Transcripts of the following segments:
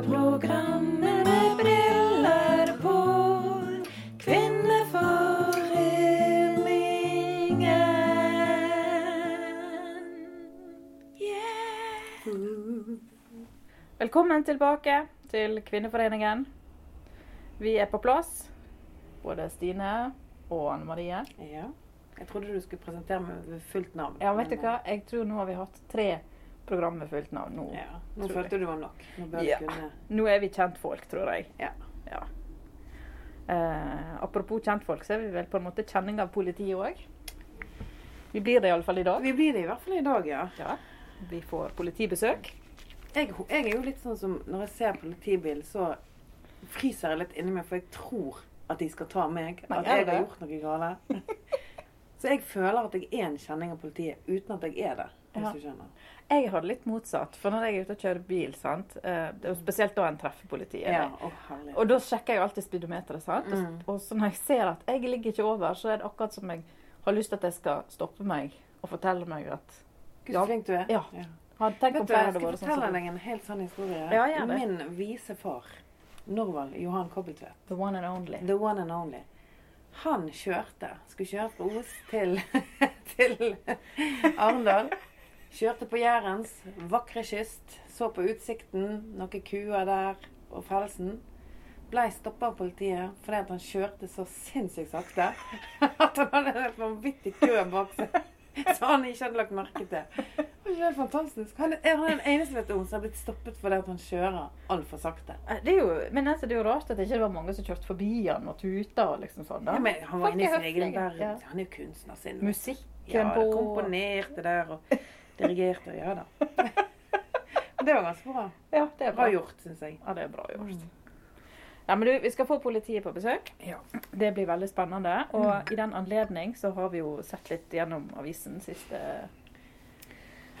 Radioprogrammet med briller på. Kvinneforeningen. Yeah. Velkommen tilbake til Kvinneforeningen. Vi er på plass. Både Stine og Anne Marie. Ja. Jeg trodde du skulle presentere meg ved fullt navn. Ja, vet du men, hva? Jeg tror nå har vi hatt tre program med fullt navn. Nå, eh, Ja. Nå tror følte du det var nok. Nå bør Ja. du kunne nå er vi kjentfolk, tror jeg. Ja. Ja. Eh, apropos kjentfolk, så er vi vel på en måte kjenning av politiet òg. Vi blir det iallfall i dag. Vi blir det i hvert fall i dag, ja. Ja. Vi får politibesøk. Jeg, jeg er jo litt sånn som når jeg ser politibil, så fryser jeg litt inni meg, for jeg tror at de skal ta meg. Nei, at er jeg det har det? gjort noe galt. så jeg føler at jeg er en kjenning av politiet uten at jeg er det. Hvis Ja. du skjønner. Jeg har det litt motsatt. For når jeg er ute og kjører bil, sant? eh, det er jo spesielt da en treffer politiet. Ja, å herlig. Og da sjekker jeg jo alltid speedometeret. sant? Og- Mm. Og så når jeg ser at jeg ligger ikke over, så er det akkurat som jeg har lyst til at jeg skal stoppe meg og fortelle meg at Gud, ja. så flink du er. Ja. Hadde tenkt om Vet du, jeg flere hadde skal vært sånn fortelle som deg en helt sann historie. Ja, gjør det. Min vise far, Norvald Johan Kobbeltvedt, The one and only. the one and only, han kjørte, skulle kjøre fra Os til, til Arendal. Kjørte på Jærens vakre kyst, så på utsikten, noen kuer der og Felsen. Blei stoppa av politiet fordi at han kjørte så sinnssykt sakte at han hadde en vanvittig kø bak seg. Så han ikke hadde lagt merke til. Var ikke det fantastisk? Han er han er den eneste vet du, om som har blitt stoppet fordi at han kjører altfor sakte. Eh, Det er jo, men altså, det er jo rart at det ikke var mange som kjørte forbi han og tuta og liksom sånn. da. Ja, men han var inne i sin Fucking egen høflig, ja. verden. Han er jo kunstner sin. Musikken Ja, på det komponerte der og dirigerte. Ja da. Det var ganske bra. Ja, det er bra. Bra gjort, syns jeg. Ja, det er bra gjort. Mm. Ja, men du, Vi skal få politiet på besøk. Ja. Det blir veldig spennende. Og Mm. i den anledning så har vi jo sett litt gjennom avisen siste,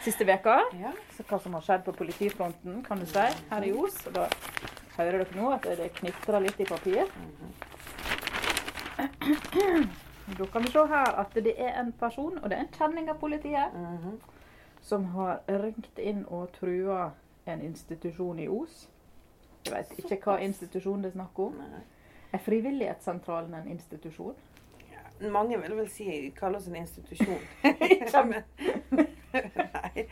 siste veka. Ja. Så hva som har skjedd på politifronten, kan du si, her i Os. Og da hører dere nå at det knitrer litt i papir. Mhm, Da kan vi se her at det er en person, og det er en kjenning av politiet, Mhm. som har ringt inn og trua en institusjon i Os. Jeg vet ikke hva institusjon det er snakk om. Nei. Er Frivillighetssentralen en institusjon? Mange vil vel si kalle oss en institusjon. Kjem- nei.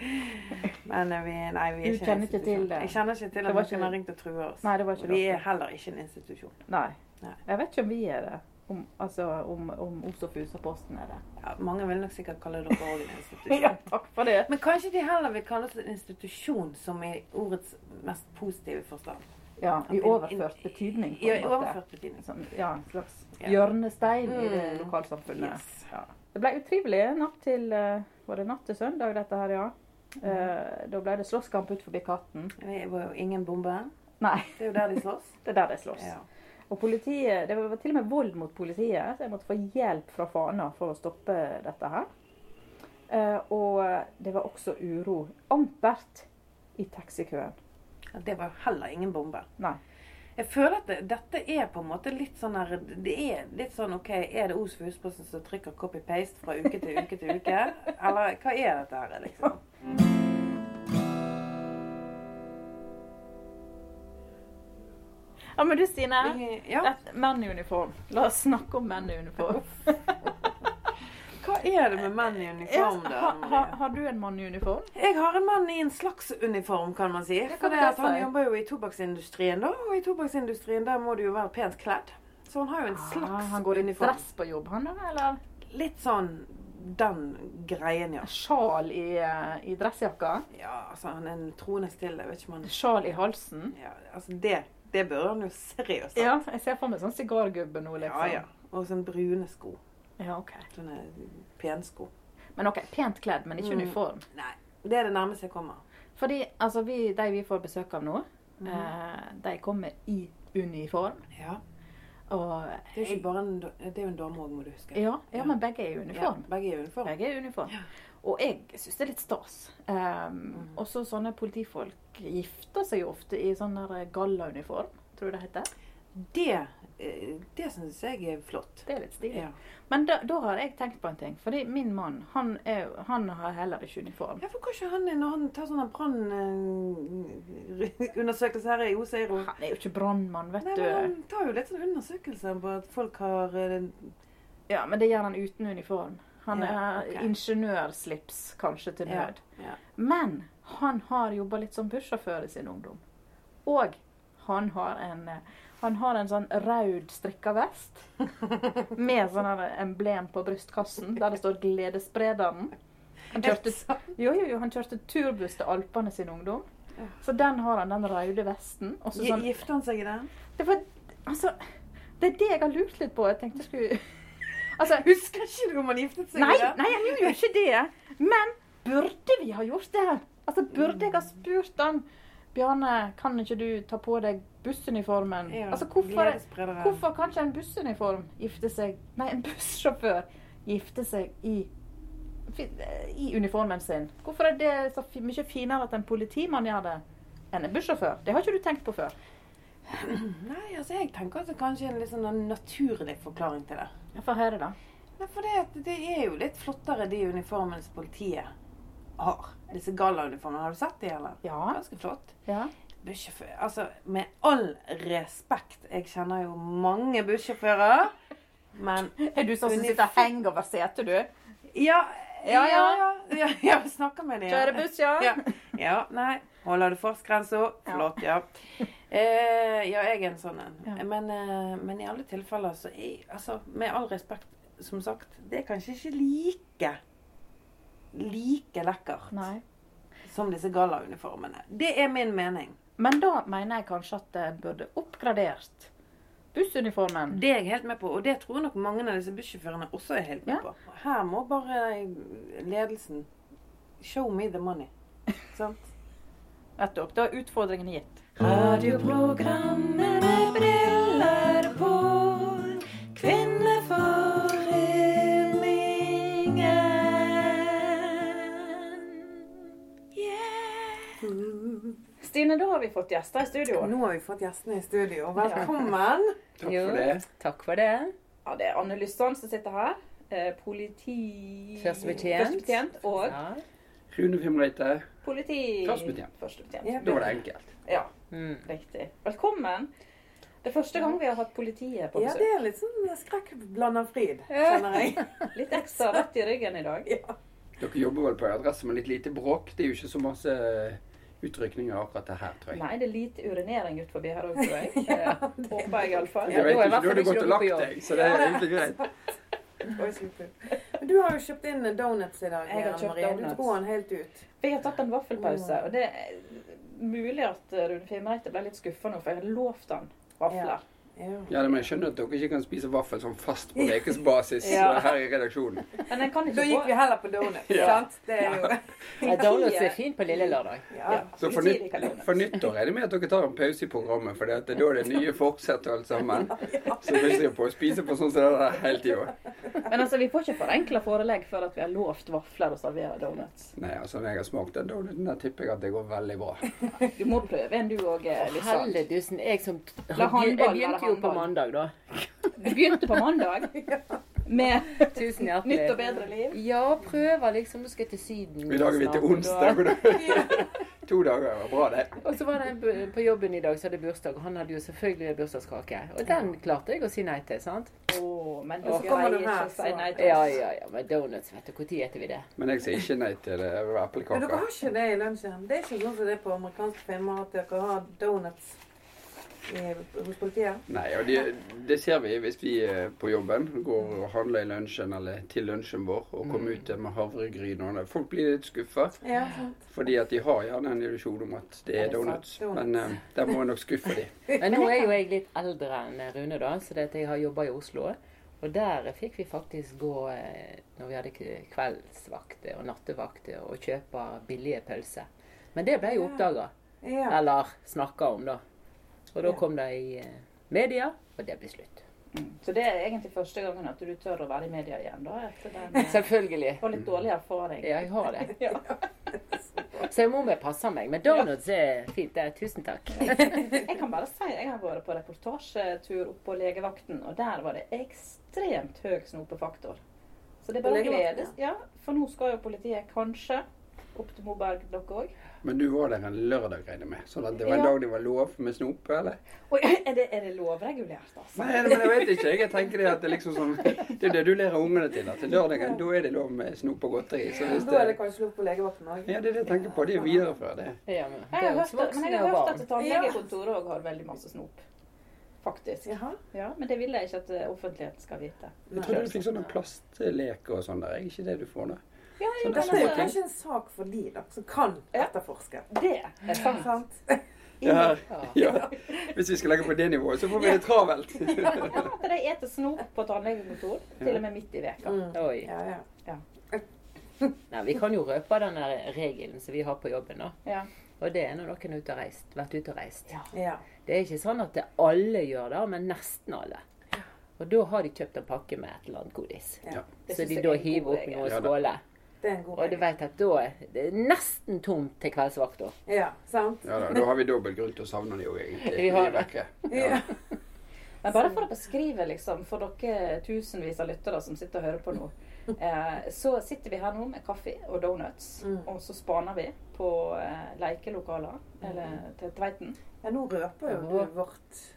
Men eh, vi, nei, vi er Du ikke en kjenner ikke institusjon. til det? Jeg kjenner ikke til Det at var noen ikke- har ringt og truet oss. Nei, det var ikke vi dere. er heller ikke en institusjon. Nei. Nei. Jeg vet ikke om vi er det. Om, altså om, om Os og Fus og Posten er det. Ja, mange vil nok sikkert kalle dere òg en institusjon. Ja, takk for det. Men kanskje de heller vil kalle oss en institusjon som i ordets mest positive forstand. Ja, At i en- overført en- betydning. på Ja, en i måte. overført betydning. Sånn, ja, en slags Ja. hjørnestein i det Mm. lokalsamfunnet. Yes. Ja. Det ble utrivelig natt til eh, Var det natt til søndag, dette her, ja? Eh, da ble det slåsskamp ut forbi Katten. Det var jo ingen bombe. Nei, Det er jo der de slåss. det er der det slåss. Ja. Og politiet Det var til og med vold mot politiet, så jeg måtte få hjelp fra Fana for å stoppe dette her. Eh, og det var også uro. Ampert i taxikøen. Ja, Det var jo heller ingen bombe. Nei. Jeg føler at det, dette er på en måte litt sånn her Det er litt sånn OK, er det Os Fusposten som trykker copy-paste fra uke til uke til uke? Eller hva er dette her, liksom? Ja, men du, Stine. Ja, Et menn i uniform. La oss snakke om menn i uniform. hva er det med menn i uniform, Ja, da? ha, ha, Maria? har du en mann i uniform? Jeg har en mann i en slags uniform, kan man si. Det kan For man at godt han si. jobber jo i tobakksindustrien, da. Og i tobakksindustrien der må du jo være pent kledd. Så han har jo en Ah, slags han går i uniform. dress på jobb, han da? Eller Litt sånn den greien, ja. sjal i, eh, i dressjakka? Ja, altså han er en troende stille, vet ikke om han Sjal i halsen? Ja, altså det, det burde han jo seriøst ha. Ja, jeg ser for meg sånn sigargubbe nå, ja, liksom. ja. Og sånn brune sko. Ja, ok. Sånne pensko. Men ok, pent kledd, men ikke Mm. uniform. Nei, det er det nærmeste jeg kommer. Fordi altså, vi, de vi får besøk av nå, Mm. eh, de kommer i uniform. Ja. Og Det er jo ikke bare en, do- det er jo en dame òg, må du huske. ja, ja, Ja. men begge er i uniform. Ja, begge er i uniform. Jeg er i uniform. Og jeg syns det er litt stas. Um, Mm. Også sånne politifolk gifter seg jo ofte i sånn der gallauniform, tror du det heter. Det, eh, det syns jeg er flott. Det er litt stilig. Ja. Men da, da har jeg tenkt på en ting. Fordi min mann, han, er, jo- han har heller ikke uniform. Ja, for kanskje han er når han tar sånne brannundersøkelser her i Oseiro Han er jo ikke brannmann, vet Nei, du. men Han tar jo litt sånn undersøkelser på at folk har eh, Ja, men det gjør han uten uniform. Han Ja, er ok. ingeniørslips, kanskje, til Ja, nød. ja. Men han har jobba litt som bussjåfør i sin ungdom. Og han har en, eh, han har en sånn rød strikka vest med sånn her emblem på brystkassen der det står 'Gledessprederen'. Han kjørte, jo, jo, jo, han kjørte turbuss til Alpene sin ungdom. Så den har han, den røde vesten. Og så Gi- sånn Gifter han seg i den? det var, altså, det er det jeg har lurt litt på. Jeg tenkte jeg skulle Altså, Husker ikke du om han giftet seg nei, i den? nei, jeg gjorde jo ikke det. Men burde vi ha gjort det? Altså, Burde jeg ha spurt han Bjarne, kan ikke du ta på deg bussuniformen? Ja, altså, hvorfor, gledessprederen. hvorfor kan ikke en bussuniform gifte seg Nei, en bussjåfør gifte seg i i uniformen sin. Hvorfor er det så fi- mye finere at en politimann gjør det, enn en bussjåfør? Det har ikke du tenkt på før. Nei, altså jeg tenker at det kanskje er en litt sånn naturlig forklaring til det. Jeg får høre det. Nei, for det, at det er jo litt flottere de uniformene som politiet har. Disse gallauniformene. Har du sett de, eller? Ja. Ganske flott. Ja. Bussjåfør Altså, med all respekt, jeg kjenner jo mange bussjåfører. Men Er du sånn som sitter og henger over setet, du? Ja, Ja, ja, ja. ja. ja, ja vi snakker med dem. Kjører buss, ja. ja. Ja, nei. Holder du fartsgrensa? Flott, ja. Eh, ja, jeg er en sånn en. Ja. Men, eh, men i alle tilfeller så er Altså, med all respekt, som sagt, det er kanskje ikke like like lekkert Nei. som disse gallauniformene. Det er min mening. Men da mener jeg kanskje at jeg burde oppgradert bussuniformen. Det er jeg helt med på, og det tror jeg nok mange av disse bussjåførene også er helt med Ja. på. Her må bare ledelsen Show me the money. Sant? Nettopp. Da er utfordringen gitt. Radioprogrammet med briller på. Kvinneforeningen. Yeah. Stine, da har vi fått gjester i studio. Nå har vi fått gjestene i studio. Velkommen. Takk for det. Takk for det. Ja, det er Anne Lysand som sitter her. Eh, Politi... Førstebetjent. Førstebetjent og Ja. Rune Fimreite. politi... Førstebetjent. Førstebetjent. Ja, Da var det enkelt. Ja, Mm. riktig. Velkommen. Det er første gang vi har hatt politiet på Ja, det besøk. er litt sånn skrekk blanda fryd, kjenner jeg. Litt ekstra rett i ryggen i dag. Dere jobber vel på en adresse med litt lite bråk. Det er jo ikke så masse eh, utrykninger akkurat det her, tror jeg. Nei, det er lite urinering ut forbi her òg, tror jeg. Eh, Håper jeg iallfall. Jeg Ja, vet da er i ikke, hvert du fall hadde ikke gått og dere på lagt jobb. deg, så det er egentlig greit. Oi, slutt. Men du har jo kjøpt inn donuts i dag. Jeg har Anne kjøpt Marie. donuts. Du dro den helt ut. Vi har tatt en vaffelpause, og det er mulig at eh, Rune Fimreite ble litt skuffa nå, for jeg hadde lovt han vafler. Ja. Ja, men jeg skjønner at dere ikke kan spise vaffel sånn fast på ukesbasis Ja. her i redaksjonen. Men jeg kan Da ikke gikk vi få heller på donuts, Ja. sant? Det er jo Ja, Donuts er fint på lille lørdag. Mm. Ja. Så for, nytt, for nyttår er det med at dere tar en pause i programmet, for det er da det nye fortsetter alt sammen. Så vi ser på å spise på sånn som det er hele tida. Men altså, vi får ikke forenkla forelegg før at vi har lovt vafler og servere donuts. Nei, altså når jeg har smakt den donuten, der tipper jeg at det går veldig bra. Du må prøve en du òg, Lysan. Helledusen. Jeg som La håndball Jeg begynte jo være på håndball. mandag, da. Du begynte på mandag med Tusen nytt og hjertelig. bedre liv. Ja, prøver liksom. Nå skal jeg til Syden. I dag er vi til onsdag. og da- To dager var bra, det. Og så var det en bu- på jobben i dag som hadde bursdag, og han hadde jo selvfølgelig bursdagskake. Og den klarte jeg å si nei til, sant? Å, men da Åh, skal kommer jeg du her, ikke si så. nei til Ja, oss. ja, ja. Men donuts, vet du. Når spiser vi det? Men jeg sier ikke nei til eh, det. Men dere eplekaker. har ikke det i lunsjen? Det er ikke sånn som det er på amerikanske filmer, at dere har donuts i, hos politiet? Nei, og det, det ser vi hvis vi er på jobben går og handler i lunsjen eller til lunsjen vår og kommer ut med havregryn og det. Folk blir litt skuffa, Ja, sant. fordi at de har gjerne en illusjon om at det Er er det sant? donuts. Donuts. Men eh, der må jeg nok skuffe de. Men nå er jo jeg litt eldre enn Rune, da, så det at jeg har jobba i Oslo. Og der fikk vi faktisk gå, eh, når vi hadde k- kveldsvakter og nattevakter, og kjøpe billige pølser. Men det ble jo oppdaga. Ja. Eller snakka om, da. Og da kom det i eh, media, og det ble slutt. Mm. Så det er egentlig første gangen at du tør å være i media igjen, da. Etter den eh, Selvfølgelig. var litt dårlig erfaring. Ja, jeg har det. Ja. Så jeg må bare passe meg. Men donuts er fint. det er Tusen takk. Jeg kan bare si jeg har vært på reportasjetur oppe på legevakten, og der var det ekstremt høy snopefaktor. Så det er bare å Legevakten, glede seg. Ja, for nå skal jo politiet kanskje opp til Moberg, dere òg. Men du var der en lørdag, regner jeg med. Sånn at det var en Ja. dag det var lov med snop, eller? Oi, er det, er det lovregulert, altså? Nei, men jeg vet ikke. Jeg tenker det at det er liksom sånn Det er det du lærer ungene til. At lørdagen, da er det lov med snop og godteri. Så hvis Da er det det kanskje lov på legevakten òg. Ja, det er det jeg tenker på. De viderefører det. Ja, men det Jeg er har jo hørt, at- voksne men jeg har og hørt at barn. tannlegekontoret òg har veldig masse snop. Faktisk. Jaha. Ja, men det vil jeg ikke at eh, offentligheten skal vite. Jeg trodde du fikk sånne plastleker og sånn der. Er ikke det du får nå? Ja, jo, Dette er jo Småting. kanskje en sak for de, da, som kan Ja. etterforske. Det er sant. Sant? Ja. Ja. ja. Hvis vi skal legge på det nivået, så får vi det travelt. At de eter snop på tannlegekontor, til og med midt i veka. Mm. Oi. Ja, ja. Nei, vi kan jo røpe den der regelen som vi har på jobben. da. Ja. Og det er når noen har ute og reist, vært ute og reist. ja. Det er ikke sånn at det alle gjør det, men nesten alle. Og da har de kjøpt en pakke med et eller annet godis. Det Så synes de jeg da er en god hiver opp regel. noen Ja da. skåler. Det er en god Og du regel. vet at da er det nesten tomt til kveldsvakta. Ja, sant? Ja da, da har vi dobbel grunn til å savne de jo egentlig. Vi har De er vekke. Ja. Men bare for å beskrive liksom, for dere tusenvis av lyttere som sitter og hører på nå, eh, så sitter vi her nå med kaffe og donuts, Mm. og så spaner vi på eh, lekelokaler, eller til Tveiten. ja, nå røper jo du vårt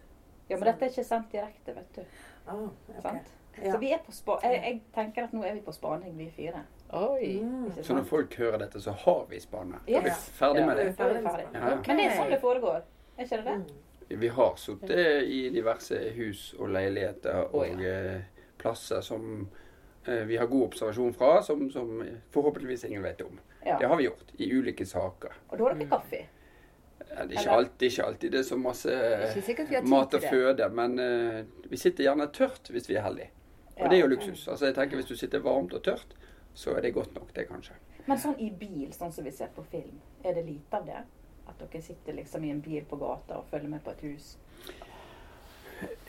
Ja, men dette er ikke sendt direkte, vet du. ah, ok. Sant? Ja. Så vi er på spa jeg, jeg tenker at nå er vi på spaning, vi fire. Oi. Mm. Ikke Så når sant? folk hører dette, så har vi spanet. Da er vi Yes. ferdig Ja. med det. Da er vi ferdig. Ja. Men det er sånn det foregår. Er ikke det det? Mm. Vi har sittet i diverse hus og leiligheter og Å, ja. eh, plasser som eh, vi har god observasjon fra, som, som forhåpentligvis ingen vet om. Ja. Det har vi gjort i ulike saker. Og da har Mm. dere kaffe. Ja, Det er ikke Eller- alltid, ikke alltid det er så masse Ikke sikkert vi har tid mat til og det. føde, men eh, vi sitter gjerne tørt hvis vi er heldige. Og Ja. det er jo luksus. Altså jeg tenker Hvis du sitter varmt og tørt, så er det godt nok, det kanskje. Men sånn i bil, sånn som vi ser på film, er det lite av det? At dere sitter liksom i en bil på gata og følger med på et hus?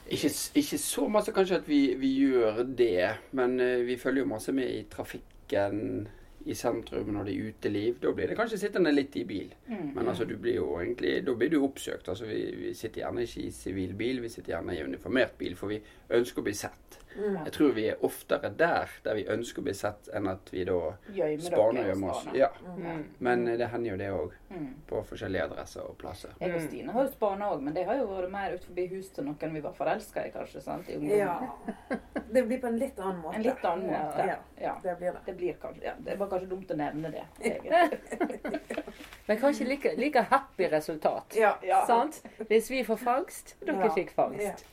Ikke, s- ikke så masse kanskje at vi, vi gjør det, men eh, vi følger jo masse med i trafikken i sentrum når det er uteliv. Da blir det kanskje sittende litt i bil. Mm. Men altså, du blir jo egentlig, da blir du oppsøkt. Altså, vi, vi sitter gjerne ikke i sivil bil, vi sitter gjerne i uniformert bil, for vi ønsker å bli sett. Mm. Jeg tror vi er oftere der der vi ønsker å bli sett, enn at vi da Gjemme spaner og dere og gjemmer oss. spaner. Ja. Mm. Men eh, det hender jo det òg, Mm. på forskjellige adresser og plasser. Jeg og Mm. Stine har jo spana òg, men det har jo vært mer ut forbi hus til noen vi var forelska i, kanskje. sant? I ungdommen. Ja. Det blir på en litt annen måte. En litt annen måte. Ja, Ja. det blir det. Det blir kanskje, ja, det var kanskje dumt å nevne det. egentlig. Men kanskje like, like happy resultat. Ja. Ja. Sant? Hvis vi får fangst, dere Ja. fikk fangst.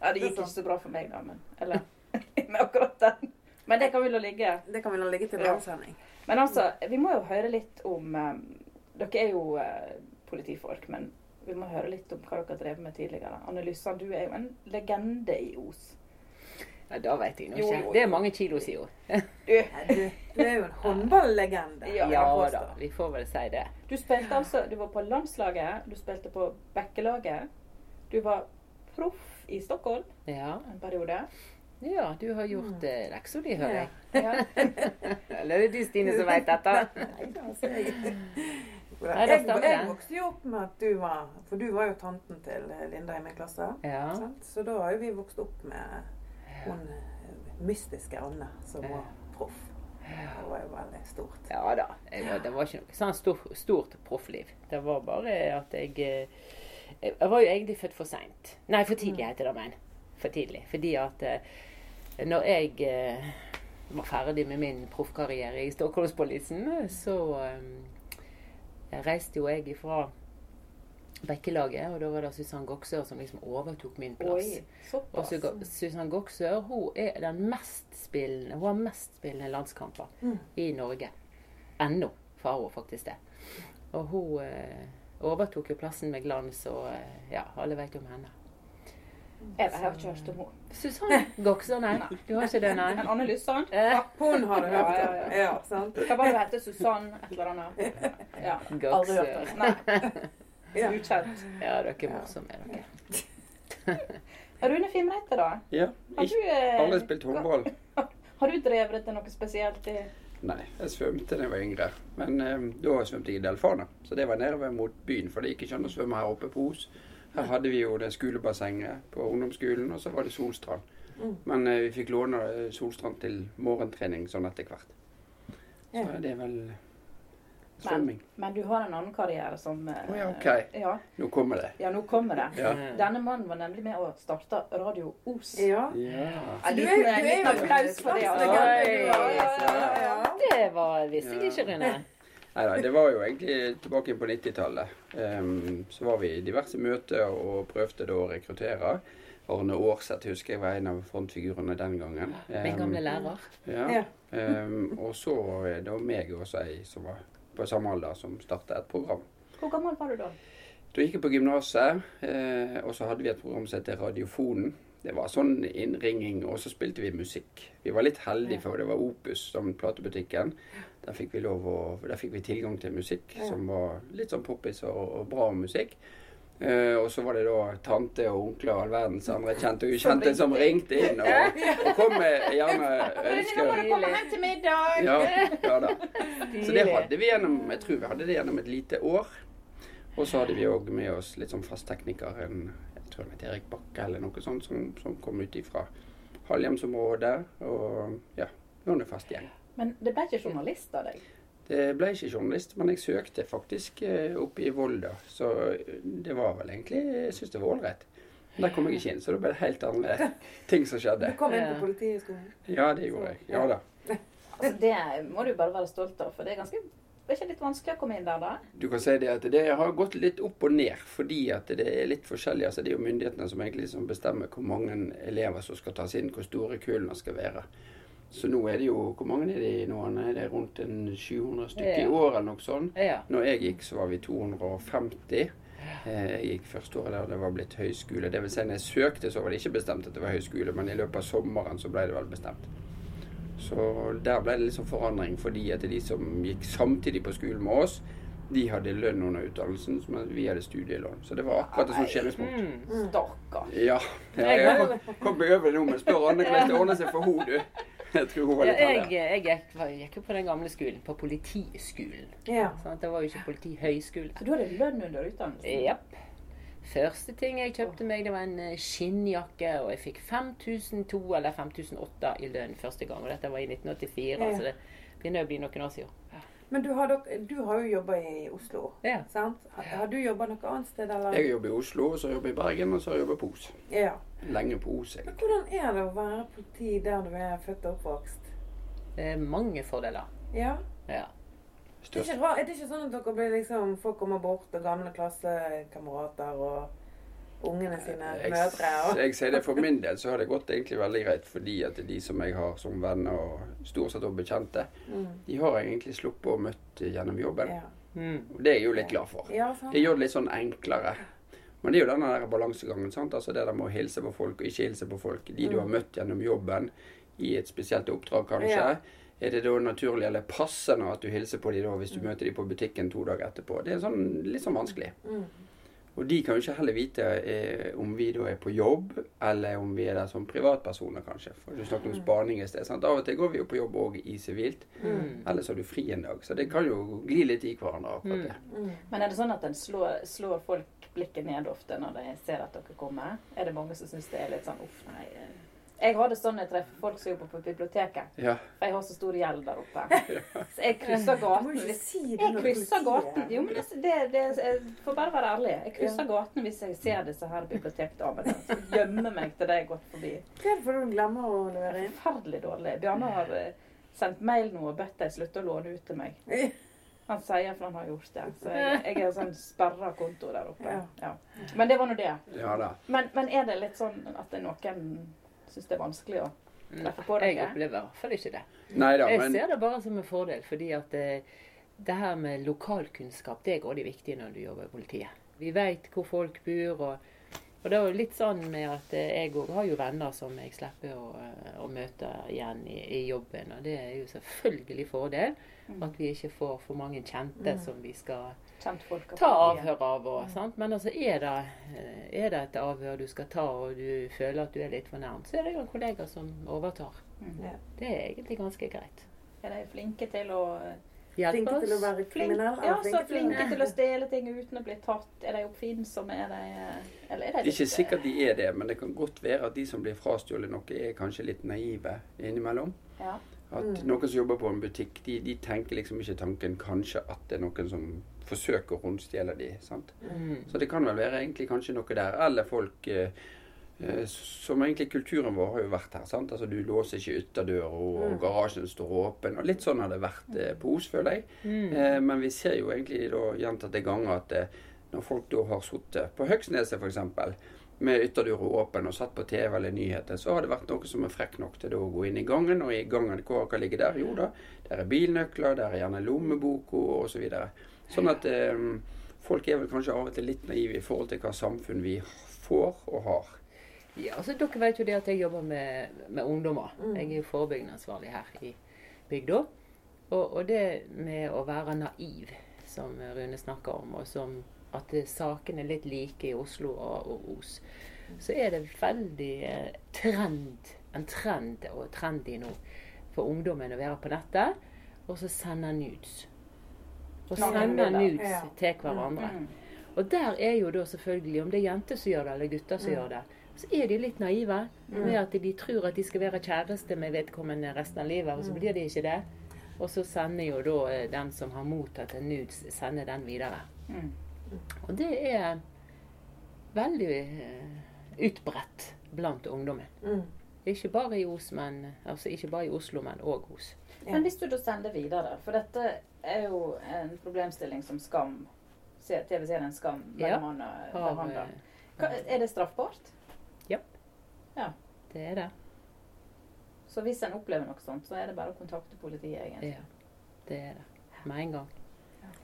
Ja, det gikk ikke så bra for meg, da, men Eller med akkurat den. Men det kan vi la ligge. Det kan vi la ligge til en Ja. annen sending. Men altså, vi må jo høre litt om eh, Dere er jo eh, politifolk, men vi må høre litt om hva dere har drevet med tidligere. Anne Lyssan, du er jo en legende i Os. Ja, da vet jeg nå Jo, jo, ikke. jo. Det er mange kilo, sier hun. Nei, Du, du er jo en håndballegende. Ja, Ja jeg da, påstår. vi får vel si det. Du spilte altså Du var på landslaget, du spilte på Bekkelaget. Du var proff i Stockholm Ja, en periode. ja du har gjort eh, leksa di, hører Mm. Ja. jeg. Eller er det de Stine som veit dette? Nei, da, altså, jeg- Nei, det Jeg, stemmer, jeg det. vokste jo opp med at du var For du var jo tanten til Linda i min klasse. Ja. Sant? Så da har jo vi vokst opp med hun eh, mystiske Anne som var proff. Det var jo veldig stort. Ja da. Jeg var, det var ikke noe sånn stor, stort proffliv. Det var bare at jeg eh, Jeg var jo egentlig født for seint. Nei, for Mm. tidlig heter det, men. For tidlig. Fordi at eh, når jeg eh, var ferdig med min proffkarriere i Stockholmspolisen, så eh, reiste jo jeg ifra Bekkelaget, og da var det Susann Goksør som liksom overtok min plass. Oi, Og såpass. Suga- Susann Goksør hun er den mest spillende, hun har mest spillende landskamper i Norge. Ennå, for hun faktisk det. Og hun eh, overtok jo plassen med glans, og eh, ja, alle vet om henne. Jeg har ikke hørt om henne. Susann Goksør, nei. Du har ikke det, nei? Men Anne Lyssan? Eh, Hun har du hørt om. Ja, Ja, ja, sant? Hva var det hun het? Susann et eller annet? Ja. Eh, Aldri hørt om. Goksør. Nei, Ja. ukjent. Ja, dere er morsomme, er dere. Rune Fimreite, da? Ja, Har du, ikke eh, alle har spilt håndball. Har du drevet til noe spesielt i Nei, jeg svømte da jeg var yngre. Men eh, da svømte jeg i Delfana. Så det var nede ved mot byen, for det gikk ikke an å svømme her oppe på Os. Her hadde vi jo det skolebassenget på ungdomsskolen, og så var det Solstrand. Mm. Men eh, vi fikk låne eh, Solstrand til morgentrening sånn etter hvert. Så Ja. det er vel svømming. Men du har en annen karriere som eh, Å ja, ok. ja, Nå kommer det. ja, nå kommer det. Ja. Mm. Denne mannen var nemlig med og starta Radio Os. ja. ja. En Du er- liten, du er liten jo applaus for det. slags Altså. legende, du Oi. er. Ja, ja, Det var, visste jeg ikke, Rune. Nei da, det var jo egentlig tilbake på 90-tallet. Ehm, så var vi i diverse møter og prøvde da å rekruttere. Arne Aarseth husker jeg var en av frontfigurene den gangen. Min gamle Ehm, lærer. ja. Ja. Ehm, og så var det da meg og også ei som var på samme alder som startet et program. Hvor gammel var du da? Da gikk jeg på gymnaset, eh, og så hadde vi et program som heter Radiofonen. Det var sånn innringing, og så spilte vi musikk. Vi var litt heldige, for det var Opus, som platebutikken. Der fikk vi, lov å, der fikk vi tilgang til musikk Ja. som var litt sånn poppis og, og bra musikk. Eh, og så var det da tante og onkler og all verdens andre kjente og ukjente som ringte inn og, og kom med gjerne ønsker. komme hjem til middag! Ja, ja da. Så det hadde vi gjennom jeg tror vi hadde det gjennom et lite år. Og så hadde vi òg med oss litt sånn fast tekniker, en jeg tror han het Erik Bakke eller noe sånt, som, som kom ut ifra Halhjemsområdet. Og ja, noen er fast gjeng. Men det ble ikke journalist av deg? Det ble ikke journalist, men jeg søkte faktisk eh, oppe i Volda. Så eh, det var vel egentlig Jeg syns det var ålreit. Men Der kom jeg ikke inn, så da ble det helt andre ting som Du skjedde. kom inn Ja. på Politihøgskolen. Ja, det gjorde jeg. Ja da. Altså, det må du bare være stolt av, for det er ganske det er ikke litt vanskelig å komme inn der, da? Du kan si det at det har gått litt opp og ned, fordi at det er litt forskjellig. Altså, det er jo myndighetene som egentlig liksom bestemmer hvor mange elever som skal tas inn, hvor store kullene skal være. Så nå er det jo Hvor mange er det nå? Er det rundt en 700 stykker Ja. i år eller noe sånt? Ja. Når jeg gikk, så var vi 250. Eh, Jeg gikk første året der det var blitt høyskole. Det vil si, når jeg søkte, så var det ikke bestemt at det var høyskole, men i løpet av sommeren så ble det vel bestemt. Så der ble det liksom forandring, fordi at de som gikk samtidig på skolen med oss, de hadde lønn under utdannelsen, mens vi hadde studielån. Så det var akkurat et sånt skjæringspunkt. Mm. Stakkar. Ja. ja jeg kom- kom meg over det nå, men spør Anne hvordan det ordner seg for henne, du. Jeg tror hun var Ja, litt jeg, heldig. jeg gikk, var- gikk jo på den gamle skolen, på politiskolen. Ja. Sant? Det var jo ikke politihøyskole. Så du hadde lønn under utdannelsen? Japp. Første ting jeg kjøpte meg, det var en eh, skinnjakke, og jeg fikk 5002 eller 5008 i lønn første gang. Og dette var i 1984, Ja. så det begynner å bli noen år siden. Men du har, dok- du har jo jobba i Oslo, Ja. sant? Har- Har du jobba noe annet sted, eller? Jeg jobber i Oslo, så jobber jeg i Bergen, og så jobber jeg på Os. Ja. Lenge på Os, jeg. Men hvordan er det å være politi der du er født og oppvokst? Eh, mange fordeler. Ja. Ja. Det er, Størst ikke rart, er det ikke sånn at dere blir liksom Folk kommer bort, og gamle klassekamerater og ungene sine mødre og jeg sier det for min del, så har det gått egentlig veldig greit, fordi at de som jeg har som venner, og stort sett også bekjente, mm. de har jeg egentlig sluppet å møte gjennom jobben. ja. Mm. Og det er jeg jo litt glad for. ja, sant. Det gjør det litt sånn enklere. Men det er jo denne der balansegangen, sant? Altså det der med å hilse på folk og ikke hilse på folk. De du har møtt gjennom jobben, i et spesielt oppdrag kanskje. Mm. Ja. Er det da naturlig eller passende at du hilser på dem da, hvis du møter dem på butikken to dager etterpå? Det er sånn, litt sånn vanskelig. Mm. Og de kan jo ikke heller vite eh, om vi da er på jobb, eller om vi er der som privatpersoner, kanskje. For du snakket om spaning i sted. sant? Av og til går vi jo på jobb òg i sivilt. Mm. Eller så har du fri en dag. Så det kan jo gli litt i hverandre, akkurat det. Mm. Men er det sånn at en slår, slår folk blikket ned ofte når de ser at dere kommer? Er det mange som syns det er litt sånn uff, nei. eh. Jeg har det sånn når jeg treffer folk som jobber på biblioteket. Mm. Ja. For jeg har så stor gjeld der oppe. Så jeg krysser Du må gaten. jo ikke Hvis si det jeg når krysser politiet- gaten. Jo, men det, det, det, jeg får bare være ærlig. Jeg krysser gaten hvis jeg ser disse her bibliotekdamene. Så gjemmer meg til de har gått forbi. Hva er det for du glemmer å Det levere er inn? forferdelig dårlig. Bjarne har eh, sendt mail nå og bedt de slutte å låne ut til meg. Han sier for han har gjort det. Så jeg, jeg er sånn sperra konto der oppe. Ja. Ja. Men det var nå det. ja da. Men, men er det litt sånn at det er noen syns det er vanskelig å treffe på Mm. Jeg dere? opplever i hvert fall ikke det. Nei da, Jeg men ser det bare som en fordel, fordi at eh, det her med lokalkunnskap, det er også viktig når du jobber i politiet. Vi veit hvor folk bor, og, og det er jo litt sånn med at eh, jeg òg har jo venner som jeg slipper å, eh, å møte igjen i, i jobben, og det er jo selvfølgelig fordel. At vi ikke får for mange kjente som vi skal Kjentfolk? ta avhør av. Og, sant? Men altså, er, det, eh, er det et avhør du skal ta, og du føler at du er litt for nærmt, så er det jo en kollega som overtar. Ja. Det er egentlig ganske greit. Er de flinke til å Hjelp Flinke til å oss. være Flink, kriminell. ja, og så til å- flinke til å stjele ting uten å bli tatt. Er de oppfinnsomme? Er de eh, Eller er de Det er ikke litt, eh, sikkert de er det, men det kan godt være at de som blir frastjålet noe, er kanskje litt naive innimellom. Ja. At Mm. noen som jobber på en butikk, de, de tenker liksom ikke tanken kanskje at det er noen som forsøker å rundstjele de, sant? Mm. Så det kan vel være egentlig kanskje noe der. Eller folk eh, eh, som egentlig kulturen vår har jo vært her, sant? Altså du låser ikke ytterdøra, og, og garasjen står åpen, og litt sånn har det vært eh, på Os, føler jeg. Mm. Eh, men vi ser jo egentlig da gjentatte ganger at eh, når folk da har sittet på Høgsneset f.eks. Med ytterdøra åpen og satt på TV eller nyheter, så har det vært noe som er frekk nok til da å gå inn i gangen. Og i gangen, hva hva ligger der? Jo da, der er bilnøkler, der er gjerne lommeboka osv. Sånn at eh, folk er vel kanskje av og til litt naive i forhold til hva samfunn vi får og har. Ja, altså Dere vet jo det at jeg jobber med, med ungdommer. Jeg er jo forebyggende ansvarlig her i bygda. Og, og det med å være naiv, som Rune snakker om, og som at det- sakene er litt like i Oslo og, og Os, så er det veldig eh, trend, en trend og trendy nå for ungdommen å være på nettet og så sende nudes. Og sende Nakenbilder. nudes Mm, Ja. til hverandre. Mm. Og der er jo da selvfølgelig, om det er jenter som gjør det, eller gutter som gjør det, så er de litt naive Mm. Mm. med at de tror at de skal være kjæreste med vedkommende resten av livet, og så blir de ikke det. Og så sender jo da eh, den som har mottatt en nudes, sender den videre. Mm. Og det er veldig eh, utbredt blant ungdommen. Mm. Ikke bare i Os, men, altså ikke bare i Oslo, men òg hos. Men hvis du da sender videre, for dette er jo en problemstilling som Skam se- TV-serien Skam Ja. mellom annet Av, behandler. eh, Hva- Er det straffbart? Det er det. Så hvis en opplever noe sånt, så er det bare å kontakte politiet, egentlig. Ja, det er det. Med en gang.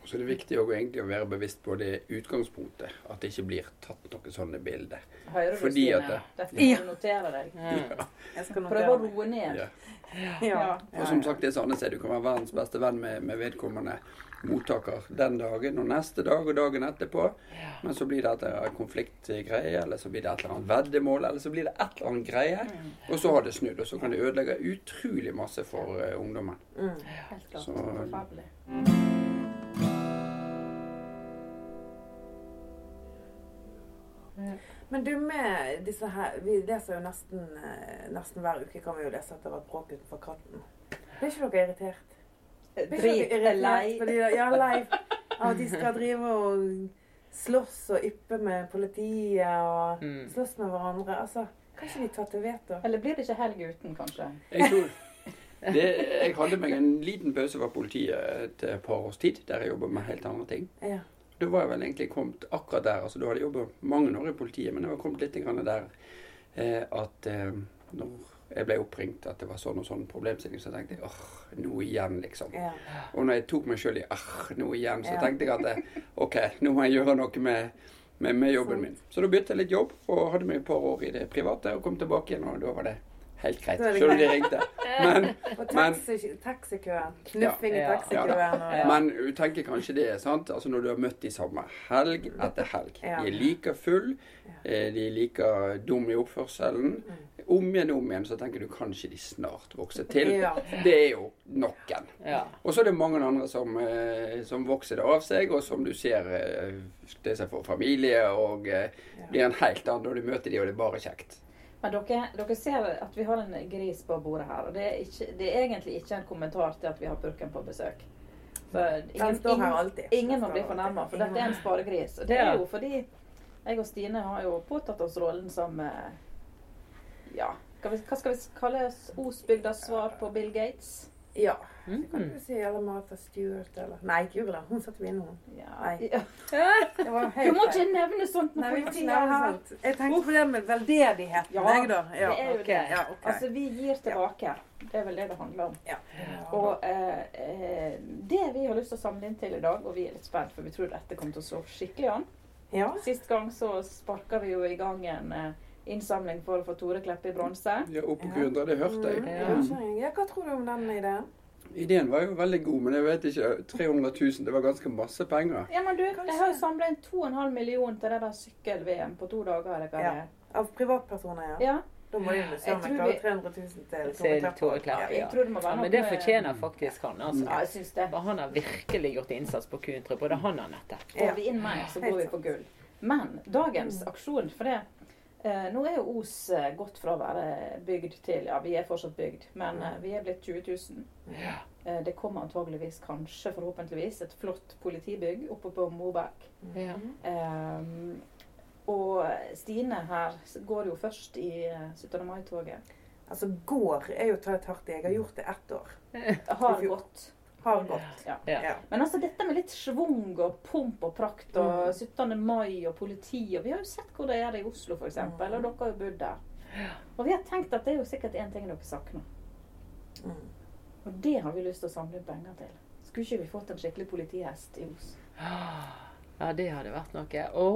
Så det er viktig å egentlig å være bevisst på det utgangspunktet, at det ikke blir tatt noen sånne bilder. Hører du, Fordi at Stine? det- Dette må du notere deg. Mm. Jeg skal Prøv å notere meg. roe ned. Ja. Ja. Og som sagt, det er sånn at du kan være verdens beste venn med, med vedkommende mottaker den dagen og neste dag og dagen etterpå. Men så blir det et eller annet konfliktgreie, eller så blir det et eller annet veddemål, eller så blir det et eller annet greie. Mm, Og så har det snudd, og så kan det ødelegge utrolig masse for eh, ungdommen. Mm. Helt klart. Så- Forferdelig. Men du, med disse her Vi leser jo nesten, eh, nesten hver uke kan vi jo lese at det har vært bråk utenfor katten. Blir ikke dere irritert? Blir ikke Eh, Drit dere er irritert lei. fordi de, ja, lei av at de skal drive og slåss og yppe med politiet og Mm. slåss med hverandre? Altså, kan ikke de ta til veto? Eller blir det ikke helg uten, kanskje? Jeg tror det, Jeg hadde meg en liten pause fra politiet et eh, par års tid, der jeg jobba med helt andre ting. Ja. Da var jeg vel egentlig kommet akkurat der. altså Da hadde jeg jobbet mange år i politiet, men jeg var kommet litt grann der eh, at eh, når jeg ble oppringt at det var sånn og sånn problemstilling, så tenkte jeg åh, nå igjen, liksom. ja. Og når jeg tok meg sjøl i åh, nå igjen, så Ja. tenkte jeg at eh, OK, nå må jeg gjøre noe med, med, med jobben min. Så da begynte jeg litt jobb, og hadde meg et par år i det private, og kom tilbake igjen, og da var det helt greit. Da er det Sjøl om de ringte. Men Og Men- taxi- taxikøen. Knuffing i Ja. taxikøen. og- Men du tenker kanskje det, sant? Altså Når du har møtt de samme helg etter helg. Ja. De er like full, eh, de er like dumme i oppførselen. Om igjen og om igjen så tenker du kanskje de snart vokser til. Mm. Ja. Det er jo noen. Ja. Og så er det mange andre som, eh, som vokser det av seg, og som du ser eh, det som får familie, og eh, blir en helt annen når du møter de, og det er bare kjekt. Men dere, dere ser at vi har en gris på bordet her. Og det er, ikke, det er egentlig ikke en kommentar til at vi har purken på besøk. For Den ingen, står her ingen, alltid. ingen Den må står bli alltid. fornærma, for dette er en sparegris. Og det Ja. er jo fordi jeg og Stine har jo påtatt oss rollen som eh, Ja, hva vi- hva skal vi kalle oss? Osbygdas svar på Bill Gates? Ja. Mm. Kan du si eller Martha Stewart eller Nei, ikke Julia. Hun satt ved noen. Ja. Nei. Ja. Det var Du helt må feil. ikke nevne sånt Nei, vi med må ikke politiet nevne her. sånt. Jeg tenkte på det med veldedigheten, Ja, jeg, da. Ja. Det er jo ok. det. Ja, ok. Altså, vi gir tilbake. Det er vel det det handler om. Ja. Og eh, eh, det vi har lyst til å samle inn til i dag, og vi er litt spent, for vi tror dette kommer til å slå skikkelig an. ja. Sist gang så sparka vi jo i gang en eh, innsamling for å få Tore Kleppe i bronse. Ja, Oppå Gundra, det hørte Ja. jeg. skjønner jeg. Mm, ja, hva tror du om den ideen? Ideen var jo veldig god, men jeg vet ikke 300 000, det var ganske masse penger. Ja, men du, jeg har jo Kanskje. samlet samla inn 2,5 millioner til det der sykkel-VM på to dager. eller hva det Ja. Av privatpersoner, ja. ja. Da må de investere Jeg tror meg vi- 300 000 til Til Tore Klepper. Tore Klepp, ja. Jeg tror det må ja. være Men det fortjener faktisk han, Ja, altså. jeg syns det. For han har virkelig gjort innsats på Kuntry, både han og Anette. Ja. Får vi inn mer, så går vi på gull. Men dagens aksjon For det, eh, nå er jo Os eh, gått fra å være bygd til Ja, vi er fortsatt bygd, men eh, vi er blitt 20 000. Eh, det kommer antageligvis, kanskje, forhåpentligvis, et flott politibygg oppe på Mobæk. Ja. Mm. Ehm, og Stine her går jo først i eh, 17. mai-toget. Altså, går er jo å ta et hardt i. Jeg har gjort det ett år. Har gått. Har gått. Ja. Ja. Ja. Men altså dette med litt schwung og pomp og prakt Mm. og 17. mai og politi og Vi har jo sett hvor det er det i Oslo, f.eks. Og Mm. dere har jo bodd der. Og vi har tenkt at det er jo sikkert én ting dere savner. Mm. Og det har vi lyst til å samle inn penger til. Skulle ikke vi fått en skikkelig politihest i Os? Ja, det hadde vært noe. Å,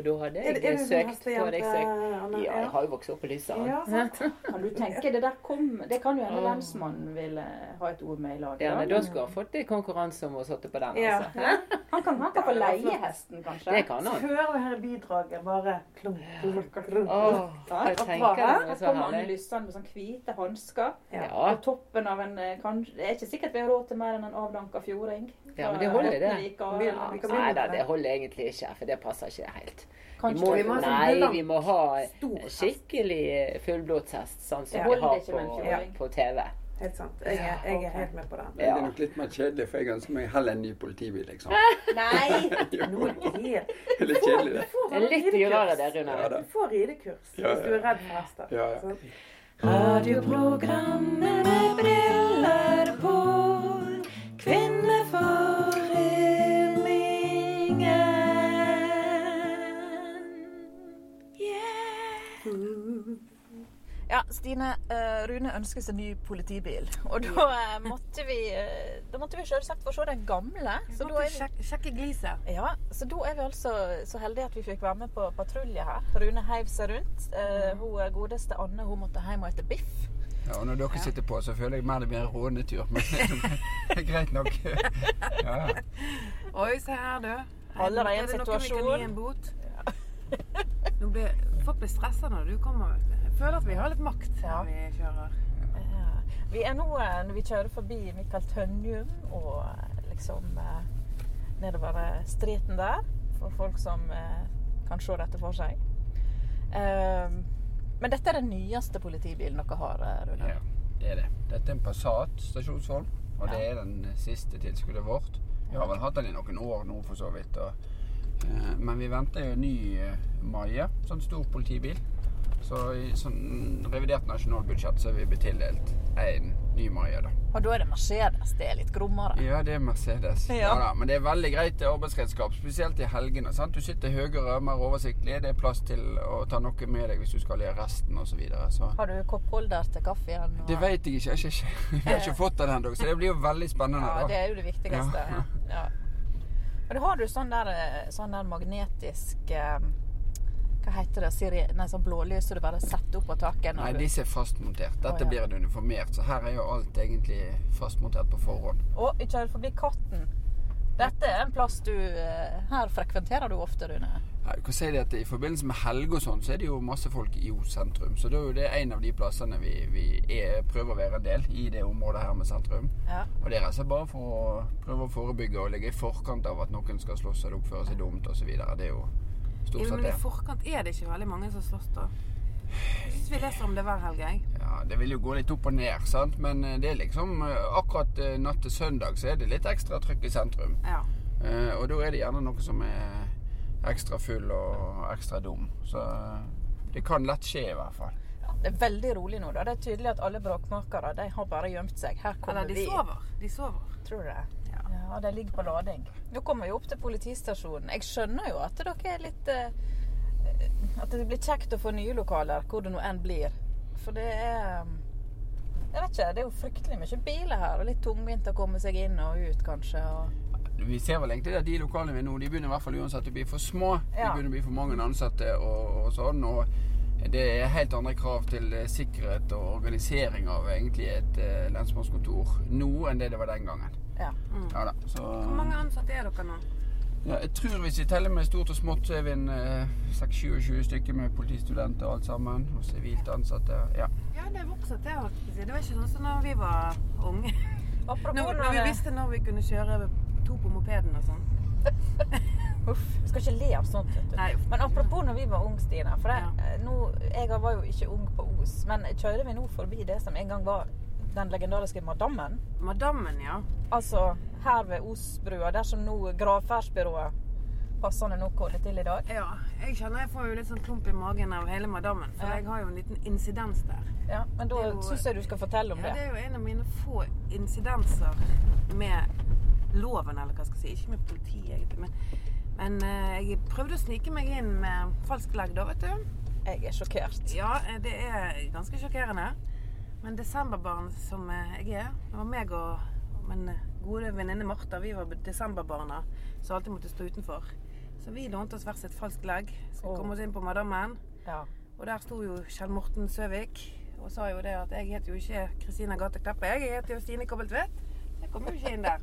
da hadde Er, jeg det- er du sånn søkt. Da hadde jeg søkt. hestejente, Anna? Ja, jeg har jo vokst opp på Ja, Lysaker. sant. Kan du tenke det der kom Det kan jo hende Åh. lensmannen vil eh, ha et ord med i laget. Ja, nei, da. da skulle han fått litt konkurranse om å sitte på den, Ja. altså. Han kan, han kan få Ja, det var leie flott. hesten, kanskje. Det kan Så han. hører vi her i bidraget bare klunk, klunk, klunk. Åh, Ja, jeg og tenker bra. det Her er så kommer Anne herlig. Lyssand med sånn hvite hansker. Ja, På toppen av en eh, kanskje, Det er ikke sikkert vi har råd til mer enn en avdanka fjording. Ja, men det holder, det. Bottenvika og- Vi- ja. vi kan Nei begynne da, med det holder egentlig ikke, for det passer ikke helt. Vi Kanskje må, Vi må ha sånn nei, blank, vi må ha stor hest. skikkelig fullblodshest, sånn som Ja. vi har Holder ikke på, med en fjording. på TV. Helt sant. Jeg er, jeg er helt med på den. Men Det Ja. er nok litt mer kjedelig, for jeg ønsker meg heller en ny politibil, liksom. Nei! Nå er det helt- Det er litt kjedelig, det. Du får Det er litt ridekurs. dyrere der, Ja, da. Rune. Du får ridekurs Ja, ja. hvis du er redd for hester. Ja, ja. sant? Radioprogrammet med briller på. Kvinneforeningen. Yeah. Ja, Stine. eh, Rune ønsker seg ny politibil. Og da eh, måtte vi eh, Da måtte vi selvsagt få se den gamle. Så da, er Sjekk- Sjekke gliset. vi, ja, så da er vi altså så heldige at vi fikk være med på patrulje her. Rune heiv seg rundt. Eh, Mm. Hun eh, godeste Anne hun måtte hjem og ete biff. Ja, og når dere sitter på, så føler jeg mer det blir en rånetur, men det er greit nok. Ja, ja. Oi, se her, du. Allerede en Er det noe vi kan situasjon. gi en bot? Nå blir, folk blir stressa når du kommer. vet du. Jeg føler at vi har litt makt Ja. når vi kjører. Ja. Vi er nå, eh, når vi kjører forbi Mikael Tønjum og eh, liksom eh, nedover eh, streten der, for folk som eh, kan se dette for seg. Eh, men dette er den nyeste politibilen dere har, eh, Rune. Ja, det er det. Dette er en Passat stasjonsholm, og det er den siste tilskuddet vårt. Vi har vel hatt den i noen år nå, for så vidt. Og, eh, men vi venter jo en ny eh, Maie, sånn stor politibil. Så i sånn revidert nasjonalbudsjett så er vi blitt tildelt én ny Maie, da. Og da er det Mercedes. Det er litt grommere. Ja, det er Mercedes. Ja. da, men det er veldig greit arbeidsredskap, spesielt i helgene. sant? Du sitter høyere, mer oversiktlig. Det er plass til å ta noe med deg hvis du skal gjøre resten osv. Så videre, så Har du koppholder til kaffen? det vet jeg ikke. Jeg har ikke, jeg har ikke fått den ennå, så det blir jo veldig spennende. Ja, da. det er jo det viktigste. Ja. Men du har du sånn der, eh, sånn der magnetisk eh, Hva heter det? Siri, nei, sånn blålys som du bare setter opp på taket? når Nei, du- disse er fastmontert. Dette Å, ja. blir det uniformert, så her er jo alt egentlig fastmontert på forhånd. Å, vi kjører forbi Katten. Dette er en plass du eh, Her frekventerer du ofte, Rune. Ja, du kan si det at I forbindelse med helg og sånn, så er det jo masse folk i Os sentrum. Så det er jo det en av de plassene vi, vi er, prøver å være en del i det området her med sentrum. Ja. Og det er altså bare for å prøve å forebygge og ligge i forkant av at noen skal slåss eller oppføre seg dumt osv. Det er jo stort Ja, sett men det. i forkant er det ikke veldig mange som slåss, da. Jeg syns vi leser om det hver helg, jeg. Ja, Det vil jo gå litt opp og ned, sant? men eh, det er liksom eh, akkurat eh, natt til søndag så er det litt ekstra trykk i sentrum. Ja. Eh, og da er det gjerne noe som er ekstra full og ekstra dum. Så eh, det kan lett skje, i hvert fall. Det er veldig rolig nå. da. Det er tydelig at alle bråkmakere de har bare gjemt seg. Her kommer Eller de vi. sover. De sover. Tror du det? Ja. ja, de ligger på lading. Nå kommer vi opp til politistasjonen. Jeg skjønner jo at dere er litt eh, At det blir kjekt å få nye lokaler, hvor det nå enn blir. For det er eh, Jeg vet ikke, det er jo fryktelig mye biler her. Og litt tungvint å komme seg inn og ut, kanskje. Og Vi ser vel egentlig at de lokalene vi er nå, de begynner i hvert fall uansett å bli for små. Ja. De begynner å bli for mange ansatte og, og sånn. Og det er helt andre krav til eh, sikkerhet og organisering av egentlig et eh, lensmannskontor nå enn det det var den gangen. Ja. Ja da, så Hvor mange ansatte er dere nå? Ja, jeg tror hvis vi teller med stort og smått, så er vi en eh, 26-27 stykker med politistudenter og alt sammen. Og sivilt ansatte. Ja. Ja, det er vokset, det. holdt jeg på å si. Det var ikke sånn som da vi var unge. Når, når vi visste når vi kunne kjøre to på mopeden og sånn. Uff, vi skal ikke le av sånt. Vet du. Nei, uff. Men apropos når vi var ung, Stina. For det, eh, nå, jeg var jo ikke ung på Os, men kjørte vi nå forbi det som en gang var den legendariske Madammen? Madammen, ja. Altså her ved Osbrua, der som nå gravferdsbyrået passende nok holder til i dag. Ja, jeg kjenner jeg får jo litt sånn klump i magen av hele Madammen, for Ja. jeg har jo en liten insidens der. Ja, men da Det er jo- syns jeg du skal fortelle om Ja, det det. er jo en av mine få incidenser med loven, eller hva skal jeg si. Ikke med politiet, egentlig, men, men eh, jeg prøvde å snike meg inn med falsk flagg da, vet du. Jeg er sjokkert. Ja, eh, det er ganske sjokkerende. Men desemberbarn som eh, jeg er Det var meg og og min gode venninne Martha. Vi var desemberbarna som alltid måtte stå utenfor. Så vi lånte oss hvert sitt falskt legg. Skulle Åh. komme oss inn på Madammen. Ja. Og der sto jo Kjell Morten Søvik og sa jo det at jeg heter jo ikke Kristina Gate Kleppe, jeg heter jo Stine Kobbeltvedt. Jeg kom jo ikke inn der.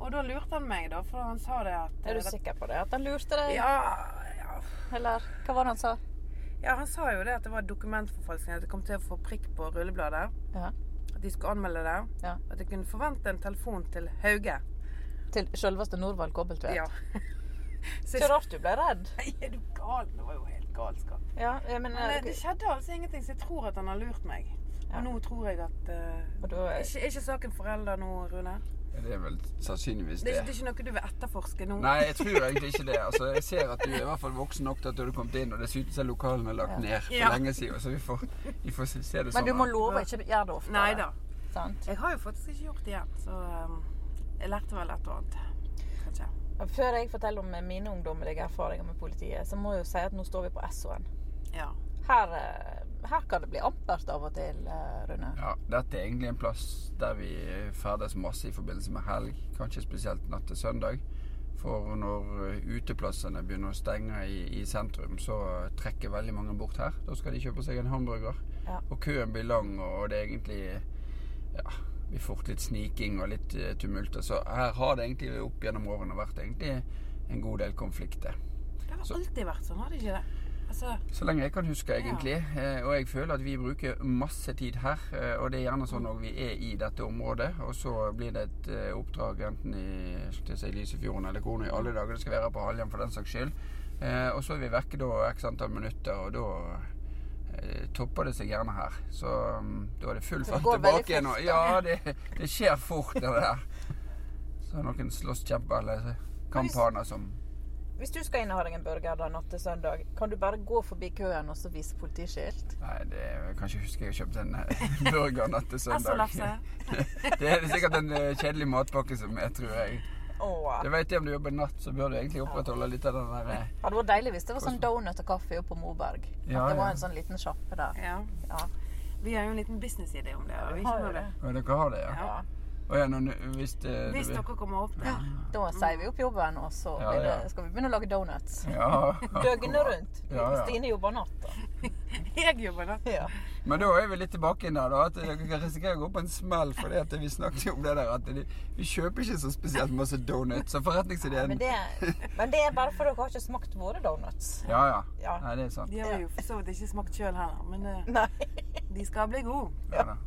Og da lurte han meg, da, for han sa det at Er du sikker på det? At han lurte deg? Ja, ja. Eller hva var det han sa? ja, han sa jo det at det var dokumentforfalskning, at jeg kom til å få prikk på rullebladet. Ja. At de skulle anmelde det. Ja. At jeg kunne forvente en telefon til Hauge. Til selveste Norvald Kobbeltvedt? Ja. Så Så jeg, rart du ble redd. Nei, er du gal? Det var jo helt galskap. Ja, eh, men, Men eh, eh, det skjedde altså ingenting, så jeg tror at han har lurt meg. Og Ja. nå tror jeg at eh, og da, Er ikke, er ikke saken forelda nå, Rune? Det er vel sannsynligvis Det er, det. ikke, det er ikke noe du vil etterforske nå? Nei, jeg tror egentlig ikke det. Altså, jeg ser at du er i hvert fall voksen nok til at du har kommet inn, og dessuten så er lokalene lagt ned for Ja. lenge siden, så vi får, vi får se det sånn. men du må da. love å ikke gjøre det oftere. Nei da. Sant? Jeg har jo faktisk ikke gjort det igjen, så um, jeg lærte vel et og annet. Kanskje. Før jeg forteller om mine ungdommelige erfaringer med politiet, så må jeg jo si at nå står vi på SO-en. Ja. Her, eh, her kan det bli ampert av og til, eh, Rune. Ja, dette er egentlig en plass der vi ferdes masse i forbindelse med helg, kanskje spesielt natt til søndag. For når eh, uteplassene begynner å stenge i, i sentrum, så trekker veldig mange bort her. Da skal de kjøpe seg en hamburger. Ja. Og køen blir lang, og det er egentlig ja, vi får fort litt sniking og litt eh, tumulter. Så her har det egentlig opp gjennom årene vært egentlig en god del konflikter. Det har Så- alltid vært sånn, har det ikke det? Altså, Så lenge jeg kan huske, egentlig. Eh, Og jeg føler at vi bruker masse tid her. eh, Og det er gjerne sånn når vi er i dette området, og så blir det et eh, oppdrag enten i skulle til å si, Lysefjorden eller Kona i alle dager. Det skal være på Haljan for den saks skyld. Eh, Og så er vi vekke da x antall minutter, og da eh, topper det seg gjerne her. Så mm, da er det full fart går veldig tilbake igjen. og- fort, Ja, det, det skjer fort, det der. Så er det noen slåsskjemper eller kampaner som Hvis du skal inn og ha deg en burger da natt til søndag, kan du bare gå forbi køen og så vise politiskilt? Nei, det jeg kan ikke huske jeg har kjøpt en eh, burger natt til søndag. SO-lefse. det er sikkert en eh, kjedelig matpakke som jeg tror jeg. Åh. Du vet det om du jobber natt, så bør du egentlig opprettholde litt av den der eh, Ja, det var deilig hvis det var sånn donut og kaffe oppe på Moberg. Ja, At det ja. var en sånn liten sjappe der. Ja. Ja. Vi har jo en liten businessidé om det. har vi Har jo ikke noe det? det. Å, dere har det, ja? Ja. Å ja, når, du- hvis det du Hvis vil- dere kommer opp med Da sier vi opp jobben, og så Ja, blir det, ja. skal vi begynne å lage donuts. Ja. Døgnet akkurat. rundt. Ja, ja. Stine jobber natt, da. Jeg jobber natt. Ja. Men da er vi litt tilbake inn der, da. At dere kan risikere å gå på en smell. For det at vi snakket jo om det der at de, vi kjøper ikke så spesielt masse donuts. Så Men, forretningsideen det, men det er bare for dere har ikke smakt våre donuts. Ja, ja. Ja. Nei, det er sant. De har vi jo for så vidt ikke smakt sjøl heller, men eh, Nei. de skal bli gode. Ja, da.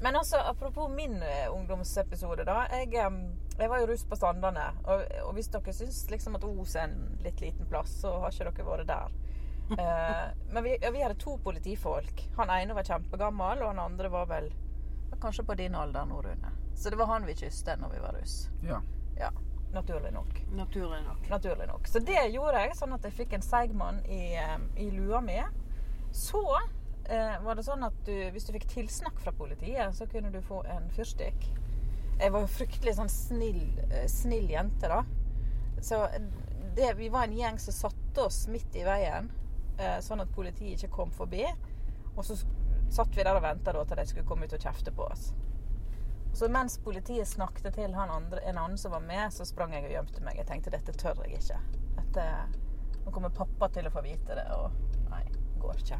Men altså, apropos min eh, ungdomsepisode, da. Jeg, em, jeg var jo russ på Sandane. Og, og hvis dere syns liksom at Os er en litt liten plass, så har ikke dere vært der. Eh, men vi, ja, vi hadde to politifolk. Han ene var kjempegammel, og han andre var vel var kanskje på din alder nå, Rune. Så det var han vi kysset når vi var russ. Ja. Ja, naturlig nok. Naturlig nok. naturlig nok. Så det gjorde jeg, sånn at jeg fikk en seigmann i, eh, i lua mi. Så eh, var det sånn at du, hvis du fikk tilsnakk fra politiet, så kunne du få en fyrstikk. Jeg var jo fryktelig sånn snill, eh, snill jente, da. Så eh, det, vi var en gjeng som satte oss midt i veien, eh, sånn at politiet ikke kom forbi. Og så s- satt vi der og venta til de skulle komme ut og kjefte på oss. Så mens politiet snakket til han andre, en annen som var med, så sprang jeg og gjemte meg. Jeg tenkte dette tør jeg ikke. Dette, nå kommer pappa til å få vite det, og nei, går ikke.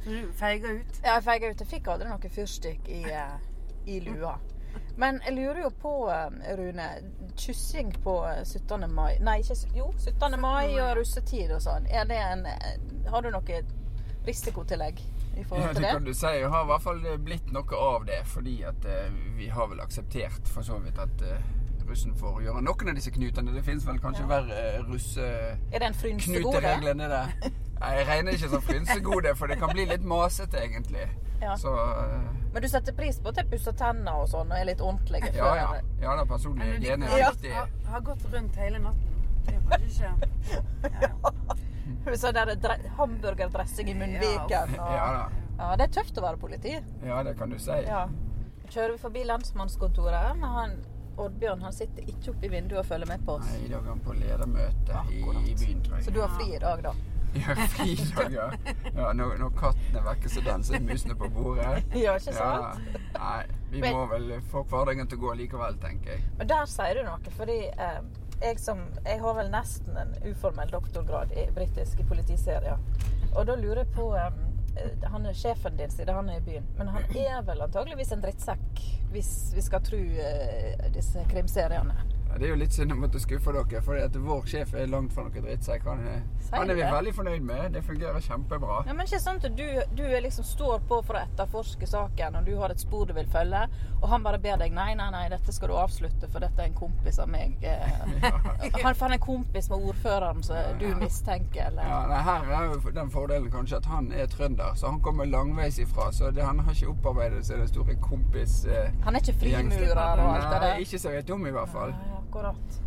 Så du feiger ut. Ja, jeg feiga ut. Jeg fikk aldri noe fyrstikk i, eh, i lua. Men jeg lurer jo på, eh, Rune, kyssing på 17. mai Nei, ikke, s- jo, 17. mai og russetid og sånn. Er det en eh, Har du noe risikotillegg i Ja, forhold til det det? kan du si. Jeg har i hvert fall eh, blitt noe av det, fordi at eh, vi har vel akseptert for så vidt at eh, russen får gjøre noen av disse knutene. Det finnes vel kanskje verre eh, russeknuteregler Er det en frynsegode? enn det der. Nei, Jeg regner ikke som frynsegode, for det kan bli litt masete, egentlig. Ja. Så eh, Men du setter pris på at jeg pusser tenner og sånn og er litt ordentlig? ja, ja. Ja da, personlig Men hygiene de er har, viktig. har, har gått rundt hele natten. Det er kanskje ikke Sånn der dre- hamburgerdressing i munnviken. Ja Og... da. Ja, det er tøft å være politi. Ja, det kan du si. Ja. Kjører vi forbi lensmannskontoret, men han, Oddbjørn han sitter ikke oppe i vinduet og følger med på oss. Nei, i dag er han på ledermøte i, i byen, tror jeg. Så du har fri i dag, da? Ja, fridager. Ja, når, når katten er vekke, så danser musene på bordet. Ja, ikke sant? Ja, nei, vi må vel få hverdagen til å gå likevel, tenker jeg. Men der sier du noe, fordi eh, jeg, som, jeg har vel nesten en uformell doktorgrad i britiske politiserier. Og da lurer jeg på eh, Han er sjefen din, siden han er i byen. Men han er vel antageligvis en drittsekk, hvis vi skal tro eh, disse krimseriene. Ja, det er jo litt synd å måtte skuffe dere, for at vår sjef er langt fra noen drittsekk. Han, er- Sier han er du vi det? veldig fornøyd med. Det fungerer kjempebra. Ja, men ikke sant at du, du er liksom står på for å etterforske saken, og du har et spor du vil følge, og han bare ber deg nei, nei, nei, dette skal du avslutte, for dette er en kompis av meg. eh, Han, for han er en kompis med ordføreren som du mistenker, eller Ja, nei, her er jo den fordelen kanskje at han er trønder, så han kommer langveis ifra. Så det, han har ikke opparbeidet seg den store kompis... Eh, Han er ikke frimurer og alt det Nei, der. ikke så jeg vet om i hvert fall. Nei, akkurat.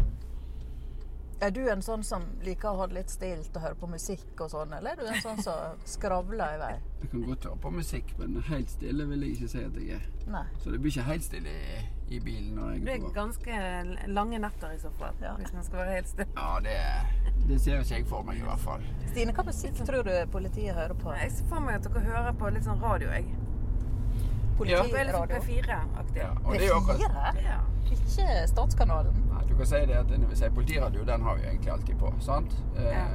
Er du en sånn som liker å ha det litt stilt og høre på musikk og sånn, eller er du en sånn som skravler i vei? Jeg kan godt høre på musikk, men helt stille vil jeg ikke si at jeg er. Nei. Så det blir ikke helt stille i, i bilen når jeg Det er er på. ganske lange netter i så fall, Ja. hvis man skal være helt stille. Ja, det, det ser jo ikke jeg for meg i hvert fall. Stine, hva musikk tror du politiet hører på? Jeg ser for meg at dere hører på litt sånn radio, jeg. Det er litt sånn Politiradio? P4-aktig. Ja, og det er jo akkurat... P4? Ja. Ikke Statskanalen? Nei, du kan si det at når vi sier politiradio, den har vi jo egentlig alltid på, sant? Eh, Ja.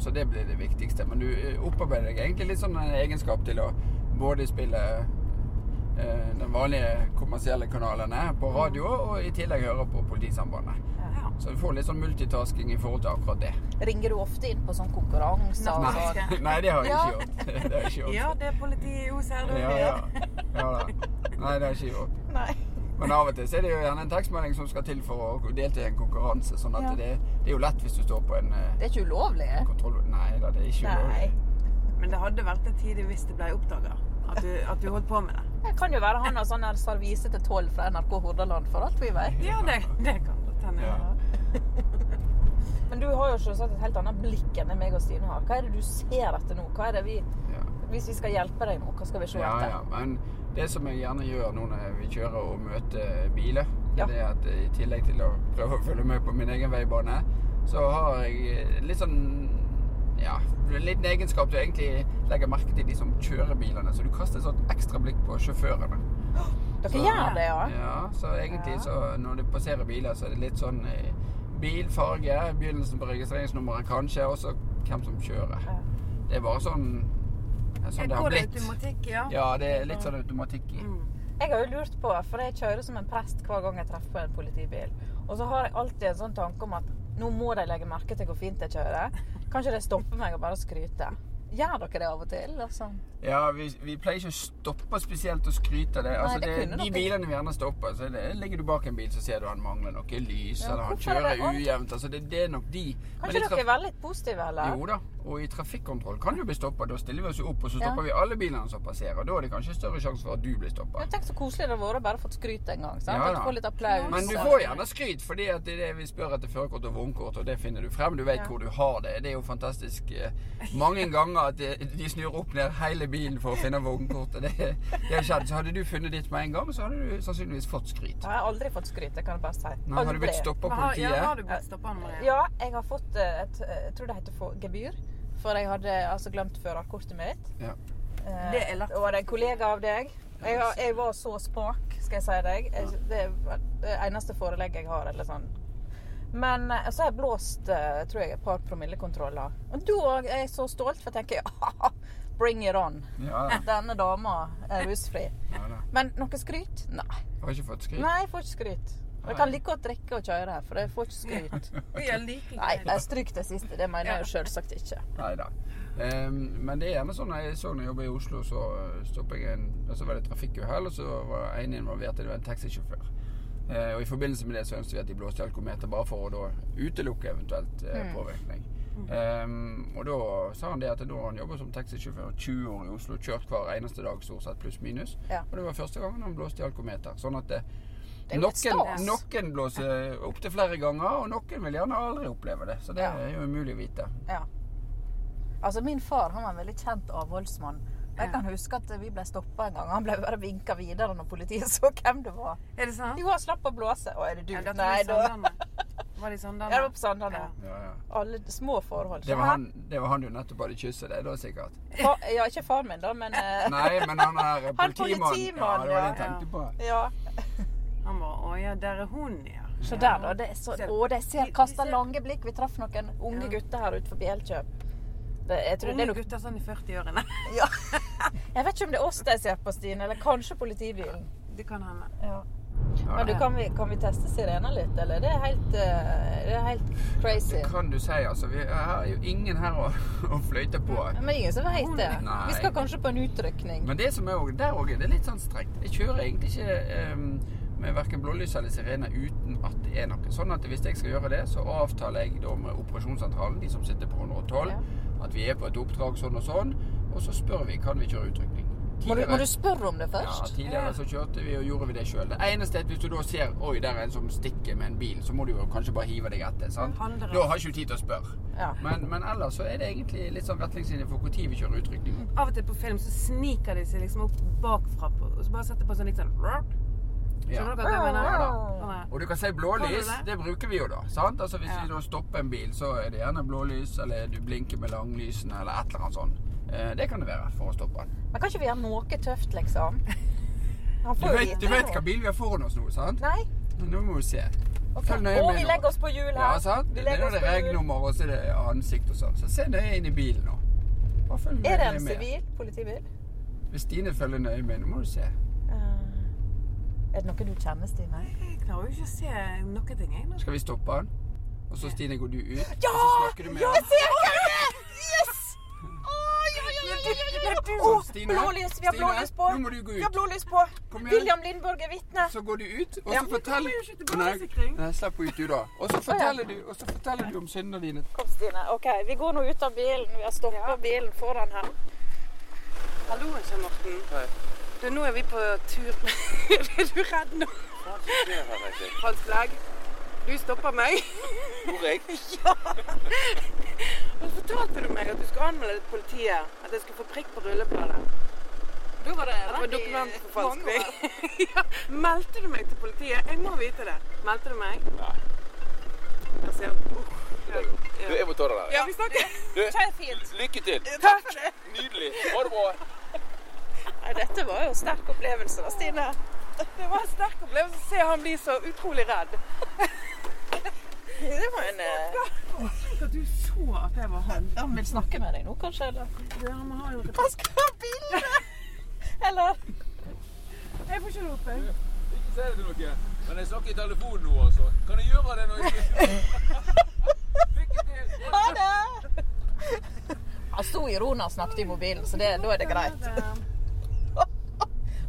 Så det blir det viktigste. Men du eh, opparbeider deg egentlig litt sånn en egenskap til å både spille eh, den vanlige kommersielle kanalene på radio, og i tillegg høre på politisambandet. Ja. Så du får litt sånn multitasking i forhold til akkurat det. Ringer du ofte inn på sånn konkurranser og Nei, sånn? nei det har jeg Ja. ikke gjort. Det har jeg ikke gjort. ja, det er politiet i Os her, du. Ja, ja. ja da. Nei, det har jeg ikke gjort. Nei. Men av og til så er det jo gjerne en tekstmelding som skal til for å delta i en konkurranse. Sånn at Ja. det, det er jo lett hvis du står på en eh, Det er ikke ulovlig? kontroll... Nei da, det er ikke Nei. ulovlig. Men det hadde vært en tid hvis det ble oppdaga at, du- at du holdt på med det. Det kan jo være han har sånn her servise til tolv fra NRK Hordaland, for alt vi vet. Ja, det, det kan godt hende. Ja. Men du har jo selvsagt et helt annet blikk enn det meg og Stine har. Hva er det du ser etter nå? Hva er det vi, Ja. hvis vi skal hjelpe deg nå, hva skal vi se Ja, etter? ja, men det som jeg gjerne gjør nå når vi kjører og møter biler, Ja. det er at eh, i tillegg til å prøve å følge med på min egen veibane, så har jeg litt sånn ja, en liten egenskap du egentlig legger merke til de som kjører bilene, så du kaster et sånt ekstra blikk på sjåførene. Dere gjør det, ja? Ja, så egentlig så når du passerer biler, så er det litt sånn eh, bilfarge, begynnelsen på registreringsnummeret kanskje, og så hvem som kjører. Ja. Det er bare sånn, ja, sånn Går det har det blitt. automatikk, ja? Ja, det er litt sånn automatikk i. Mm. Jeg har jo lurt på, for jeg kjører som en prest hver gang jeg treffer på en politibil. Og så har jeg alltid en sånn tanke om at nå må de legge merke til hvor fint jeg kjører. Kanskje de stopper meg og bare skryter. Gjør dere det av og til? Altså? Ja, vi, vi pleier ikke å stoppe spesielt å skryte av det. Altså, det det, kunne de dere. bilene vi gjerne stopper, så det, ligger du bak en bil, så ser du han mangler noe lys, Ja, eller han hvorfor er det kjører alt? ujevnt. Altså, det, det er nok de. Men sånn i Kanskje traf- dere er veldig positive, eller? Jo da, og i trafikkontroll kan du bli stoppa. Da stiller vi oss jo opp, og så stopper vi alle bilene som passerer. og Da er det kanskje større sjanse for at du blir stoppa. Men Tenk så koselig det hadde vært å bare fått skryt en gang. sant? Ja, At du ja. får litt applaus. Men du får gjerne skryt, fordi at det er det vi spør etter førerkort og vognkort, og det finner du frem. Du vet hvor du har det. Det er jo fantastisk eh, mange ganger at de, de snur opp ned hele bilen for å finne vognkortet. Det, det har skjedd. Så hadde du funnet ditt med en gang, så hadde du sannsynligvis fått skryt. Jeg har aldri fått skryt, det kan jeg bare si. Nei, har du blitt stoppa Men av Har, ja, har politiet? du blitt stoppa, Marie? Ja, jeg har fått eh, et eh, Jeg tror det heter for gebyr. For jeg hadde altså glemt førerkortet mitt. Ja. Eh, Det er lett. Og det er en kollega av deg. Jeg, har, jeg var så spak, skal jeg si deg. Jeg, det er det eneste forelegget jeg har. eller sånn. Men eh, så har jeg blåst eh, tror jeg, et par promillekontroller. Og da er jeg så stolt, for jeg tenker ja, bring it on. Ja da. Denne dama er rusfri. Ja, da. Men noe skryt? Nei. Jeg har ikke fått skryt. Nei, jeg får ikke skryt. Og Jeg kan like godt drikke og kjøre, for jeg får ikke skryt. Oi, jeg liker Nei, ikke det. nei, stryk det siste. Det mener jeg jo selvsagt ikke. Nei da. men det er gjerne sånn jeg så når jeg jobbet i Oslo, så eh, stoppet jeg en og Så var det trafikkuhell, og så var en involvert i det, var en taxisjåfør. Eh, og i forbindelse med det så ønsket vi at de blåste i alkometer bare for å da utelukke eventuelt eh, Mm. påvirkning. Eh, og da sa han det at nå har han jobbet som taxisjåfør 20 år i Oslo, kjørt hver eneste dag stort sett, pluss minus. Ja. Og det var første gangen han blåste i alkometer. Sånn at det, Det er jo et noen, stas. noen blåser opptil flere ganger, og noen vil gjerne aldri oppleve det. Så det Ja. er jo umulig å vite. Altså, Min far han var en veldig kjent avholdsmann. Jeg kan huske at vi ble stoppa en gang. Han ble bare vinka videre når politiet så hvem det var. Er det sant? Jo, han slapp å blåse. Å, er det du? Ja, dette var Nei, i da. sånn Ja, Sandane. Var det i Sandane? det var på Sandane. Ja. Ja, ja. Alle små forhold. Det var, han, det var han du nettopp hadde kysset, det da sikkert? Fa, ja, ikke far min, da, men eh, Nei, men han er eh, Han politimann. politimann, ja, det var det jeg ja. tenkte på. Ja. Han var Å ja, der er hun, ja. Se der, da. Det er så, Ser- å, de ser Vi- kaster vi ser- lange blikk. Vi traff noen unge Ja. gutter her ute forbi Elkjøp. Det, jeg, tror det Unge er noe, gutter sånn i 40-årene. ja. jeg vet ikke om det er oss de ser på, Stine, eller kanskje politibilen. Det kan hende. Ja. Ja, Men du, det- kan vi, kan vi teste sirena litt, eller? Det er helt, eh, det er helt crazy. Det kan du si, altså. Vi har jo ingen her å, å fløyte på. Men det er ingen som vet det. Nei. Vi skal kanskje på en utrykning. Men det som er også- der òg, det er litt sånn strengt. Jeg kjører egentlig ikke um, med verken blålys eller sirene uten at det er noe. Sånn at hvis jeg skal gjøre det, så avtaler jeg da med operasjonssentralen, de som sitter på 112, at vi er på et oppdrag sånn og sånn, og så spør vi kan vi kjøre utrykning. Må du, Tidligere- må du spørre om det Ja, først? tidligere så kjørte vi og gjorde vi det sjøl. Det eneste er at hvis du da ser oi, der er en som stikker med en bil, så må du jo kanskje bare hive deg etter. sant? Handler det. Da har ikke du tid til å spørre. Ja. Men, men ellers så er det egentlig litt sånn retningslinjer for når vi kjører utrykning. Av og til på film så sniker de seg liksom opp bakfra på, og så bare setter på sånn litt sånn Skjønner Ja. dere hva jeg Ja, mener? da. Sånn her. Og du kan si blålys, Kan du det? det bruker vi jo da. sant? Altså Hvis Ja. vi da stopper en bil, så er det gjerne blålys, eller du blinker med langlysene, eller et eller annet sånt. Eh, Det kan det være for å stoppe den. Men kan ikke vi gjøre noe tøft, liksom? Han Du får jo vet, du vite vet det. hva bil vi har foran oss nå, sant? Nei? Nå må vi se. Ok. Følg nøye Å, med vi nå. legger oss på hjul her. Ja, sant? Vi Det er legger da oss det på hjul. regnummer, og så er det ansikt og sånn. Så se nøye inn i bilen nå. Bare følg Er det nøye en med. sivil politibil? Hvis Stine følger nøye med, nå må du se. Eh, er det noe du kjenner, Stine? Jeg klarer jo ikke å se noen ting, jeg. nå. Skal vi stoppe han? Og så Stine, går du ut, Ja! og så snakker du med Jeg han. ser hva det er! Yes! Å, ja, ja, ja, ja, ja, ja. Å, Stine, blålys! Vi har Stine, blålys på. nå må du gå ut. Vi har blålys på. Kom igjen. William Lindborg er vitne. Så går du ut, og så Ja. forteller Men vi kommer jo ikke til Nei, nei, slapp ut du, da. Og så forteller du, og så forteller du om syndene dine. Kom, Stine. OK, vi går nå ut av bilen. Vi har stoppa bilen foran her. Hallo, Kjell Morten. Du, nå er vi på tur Er du redd nå? Hans Flegg, du stopper meg. Gjorde jeg? Ja! Og så fortalte du meg at du skulle anmelde det til politiet. At jeg skulle få prikk på rullebladet. Da var det for dokumentforfalskning. ja. Meldte du meg til politiet? Jeg må vite det. Meldte du meg? Nei. Altså, jeg- uh, Du, jeg må ta det der. ja, vi snakker. Kjør fint. Lykke til. Takk. Nydelig. Ha det bra. Nei, dette var jo sterk opplevelse, da, Stine. Det var en sterk opplevelse å se han bli så utrolig redd. Det var en eh, At du så at det var han. Han vil snakke med deg nå, kanskje? Eller? Du, han har jo Han skal ha bilde! Eller Jeg får ikke rope. Ikke si det til noen. Men jeg snakker i telefonen nå, altså. Kan jeg gjøre det når jeg Lykke til. Ha det! Han sto i roen og snakket i mobilen, så det, da er det greit.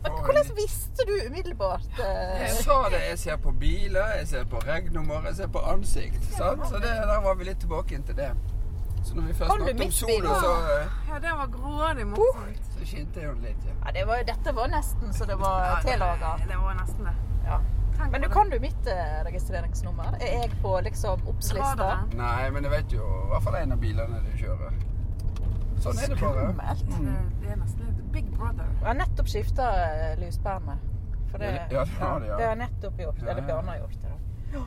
Men hvordan visste du umiddelbart eh, Jeg sa det. Jeg ser på biler, jeg ser på regnummer, jeg ser på ansikt. Sant? Så det, der var vi litt tilbake inn til det. Så når vi først Kan du snakket om mitt sola, bilde? så, eh, Ja, det var grådig morsomt. så skinte hun litt. Ja. ja, det var, Dette var nesten så Uh, det var Ja, tillaga. Det var nesten det. Ja. Tenk Men du på det. kan jo mitt eh, registreringsnummer. Er jeg på liksom obs-lista? Radaren. Nei, men jeg vet jo i hvert fall en av bilene du kjører. Sånn er det bare. Skummelt. Det er nesten litt Big Brother. Jeg har nettopp skifta lyspærene. For det, Ja, det har du, ja. det har jeg nettopp gjort. Ja, Eller ja. Bjarne har gjort det. da.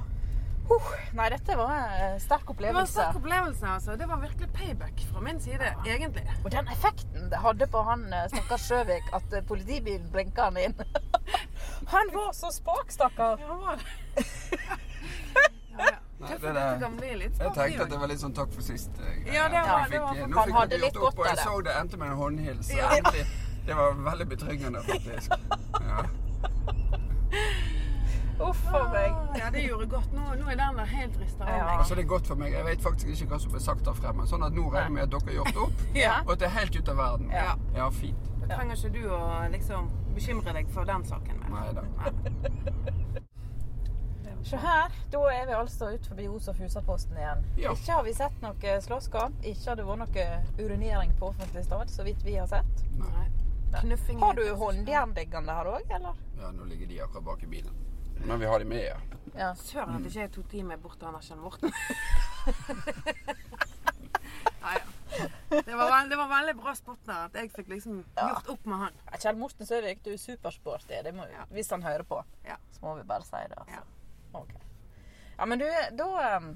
Huh, nei, dette var en eh, sterk Det var en opplevelse. sterk opplevelse, altså. Det var virkelig payback fra min side, egentlig. Og den effekten det hadde på han eh, stakkars Sjøvik at eh, politibilen blinka han inn. Han var så spak, stakkar. Ja, var det. Nei, Nei, Ja, det for der- dette kan bli litt Jeg sport, tenkte det at det var litt sånn takk for sist. eh, Ja, det at var- jeg det var- fikk- han nå fikk hadde dere litt gjort opp, godt av og jeg det. så det endte med en håndhils. så Ja. egentlig- Det var veldig betryggende, faktisk. Ja. Uff a meg. Ah, Ja, det gjorde godt. Nå, nå er den der helt rista av Ja. meg. Altså, det er godt for meg. Jeg vet faktisk ikke hva som ble sagt der fremme. Sånn at nå regner jeg med at dere har gjort opp, Ja. og at det er helt ut av verden. Ja. Ja, fint. Da trenger ikke du å liksom bekymre deg for den saken mer. Nei da. Se her, da er vi altså ut forbi Josef Husaposten igjen. Ja. Ikke har vi sett noe slåsskamp, ikke har det vært noe urinering på offentlig stad, så vidt vi har sett. Nei. Knuffing Har du håndjern liggende her òg, eller? Ja, nå ligger de akkurat bak i bilen. Men vi har de med, ja. Ja. Søren at ikke jeg tok de med bort til Andersen Morten. Nei, ja. det, var veld, det var veldig bra sport der, at jeg fikk liksom gjort opp med han. Ja, Kjell Morten Søvik, du er supersporty. Det må, Ja. Hvis han hører på, Ja. så må vi bare si det. Altså. Ja. Ok. ja, men du, da um,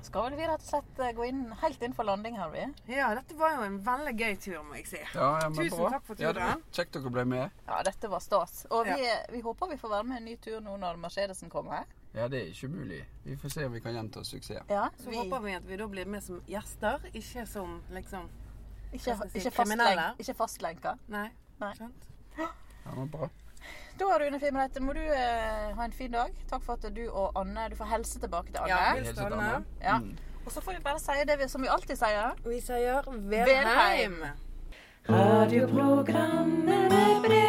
skal vel vi rett og slett uh, gå inn helt inn for landing her, vi. Ja, dette var jo en veldig gøy tur, må jeg si. ja, ja men Tusen bra. takk for Ja, det var turen. Kjekt dere ble med. Ja, dette var stas. Og vi, vi håper vi får være med en ny tur nå når Mercedesen kommer. Ja, det er ikke umulig. Vi får se om vi kan gjenta suksessen. Ja, Så håper vi at vi da blir med som gjester, ikke som liksom Ikke, skal si, ikke, kriminelle. fastlenk, ikke fastlenka. Nei. Nei. Skjønt? Ja, men bra. Da, Rune Fimreite, må du eh, ha en fin dag. Takk for at du og Anne Du får helse tilbake til Ja, Anne. Helt helt sitt annet. stående. Ja. Og så får vi bare si det vi, som vi alltid sier. Vi sier Vedheim. Vedheim. Radioprogrammet med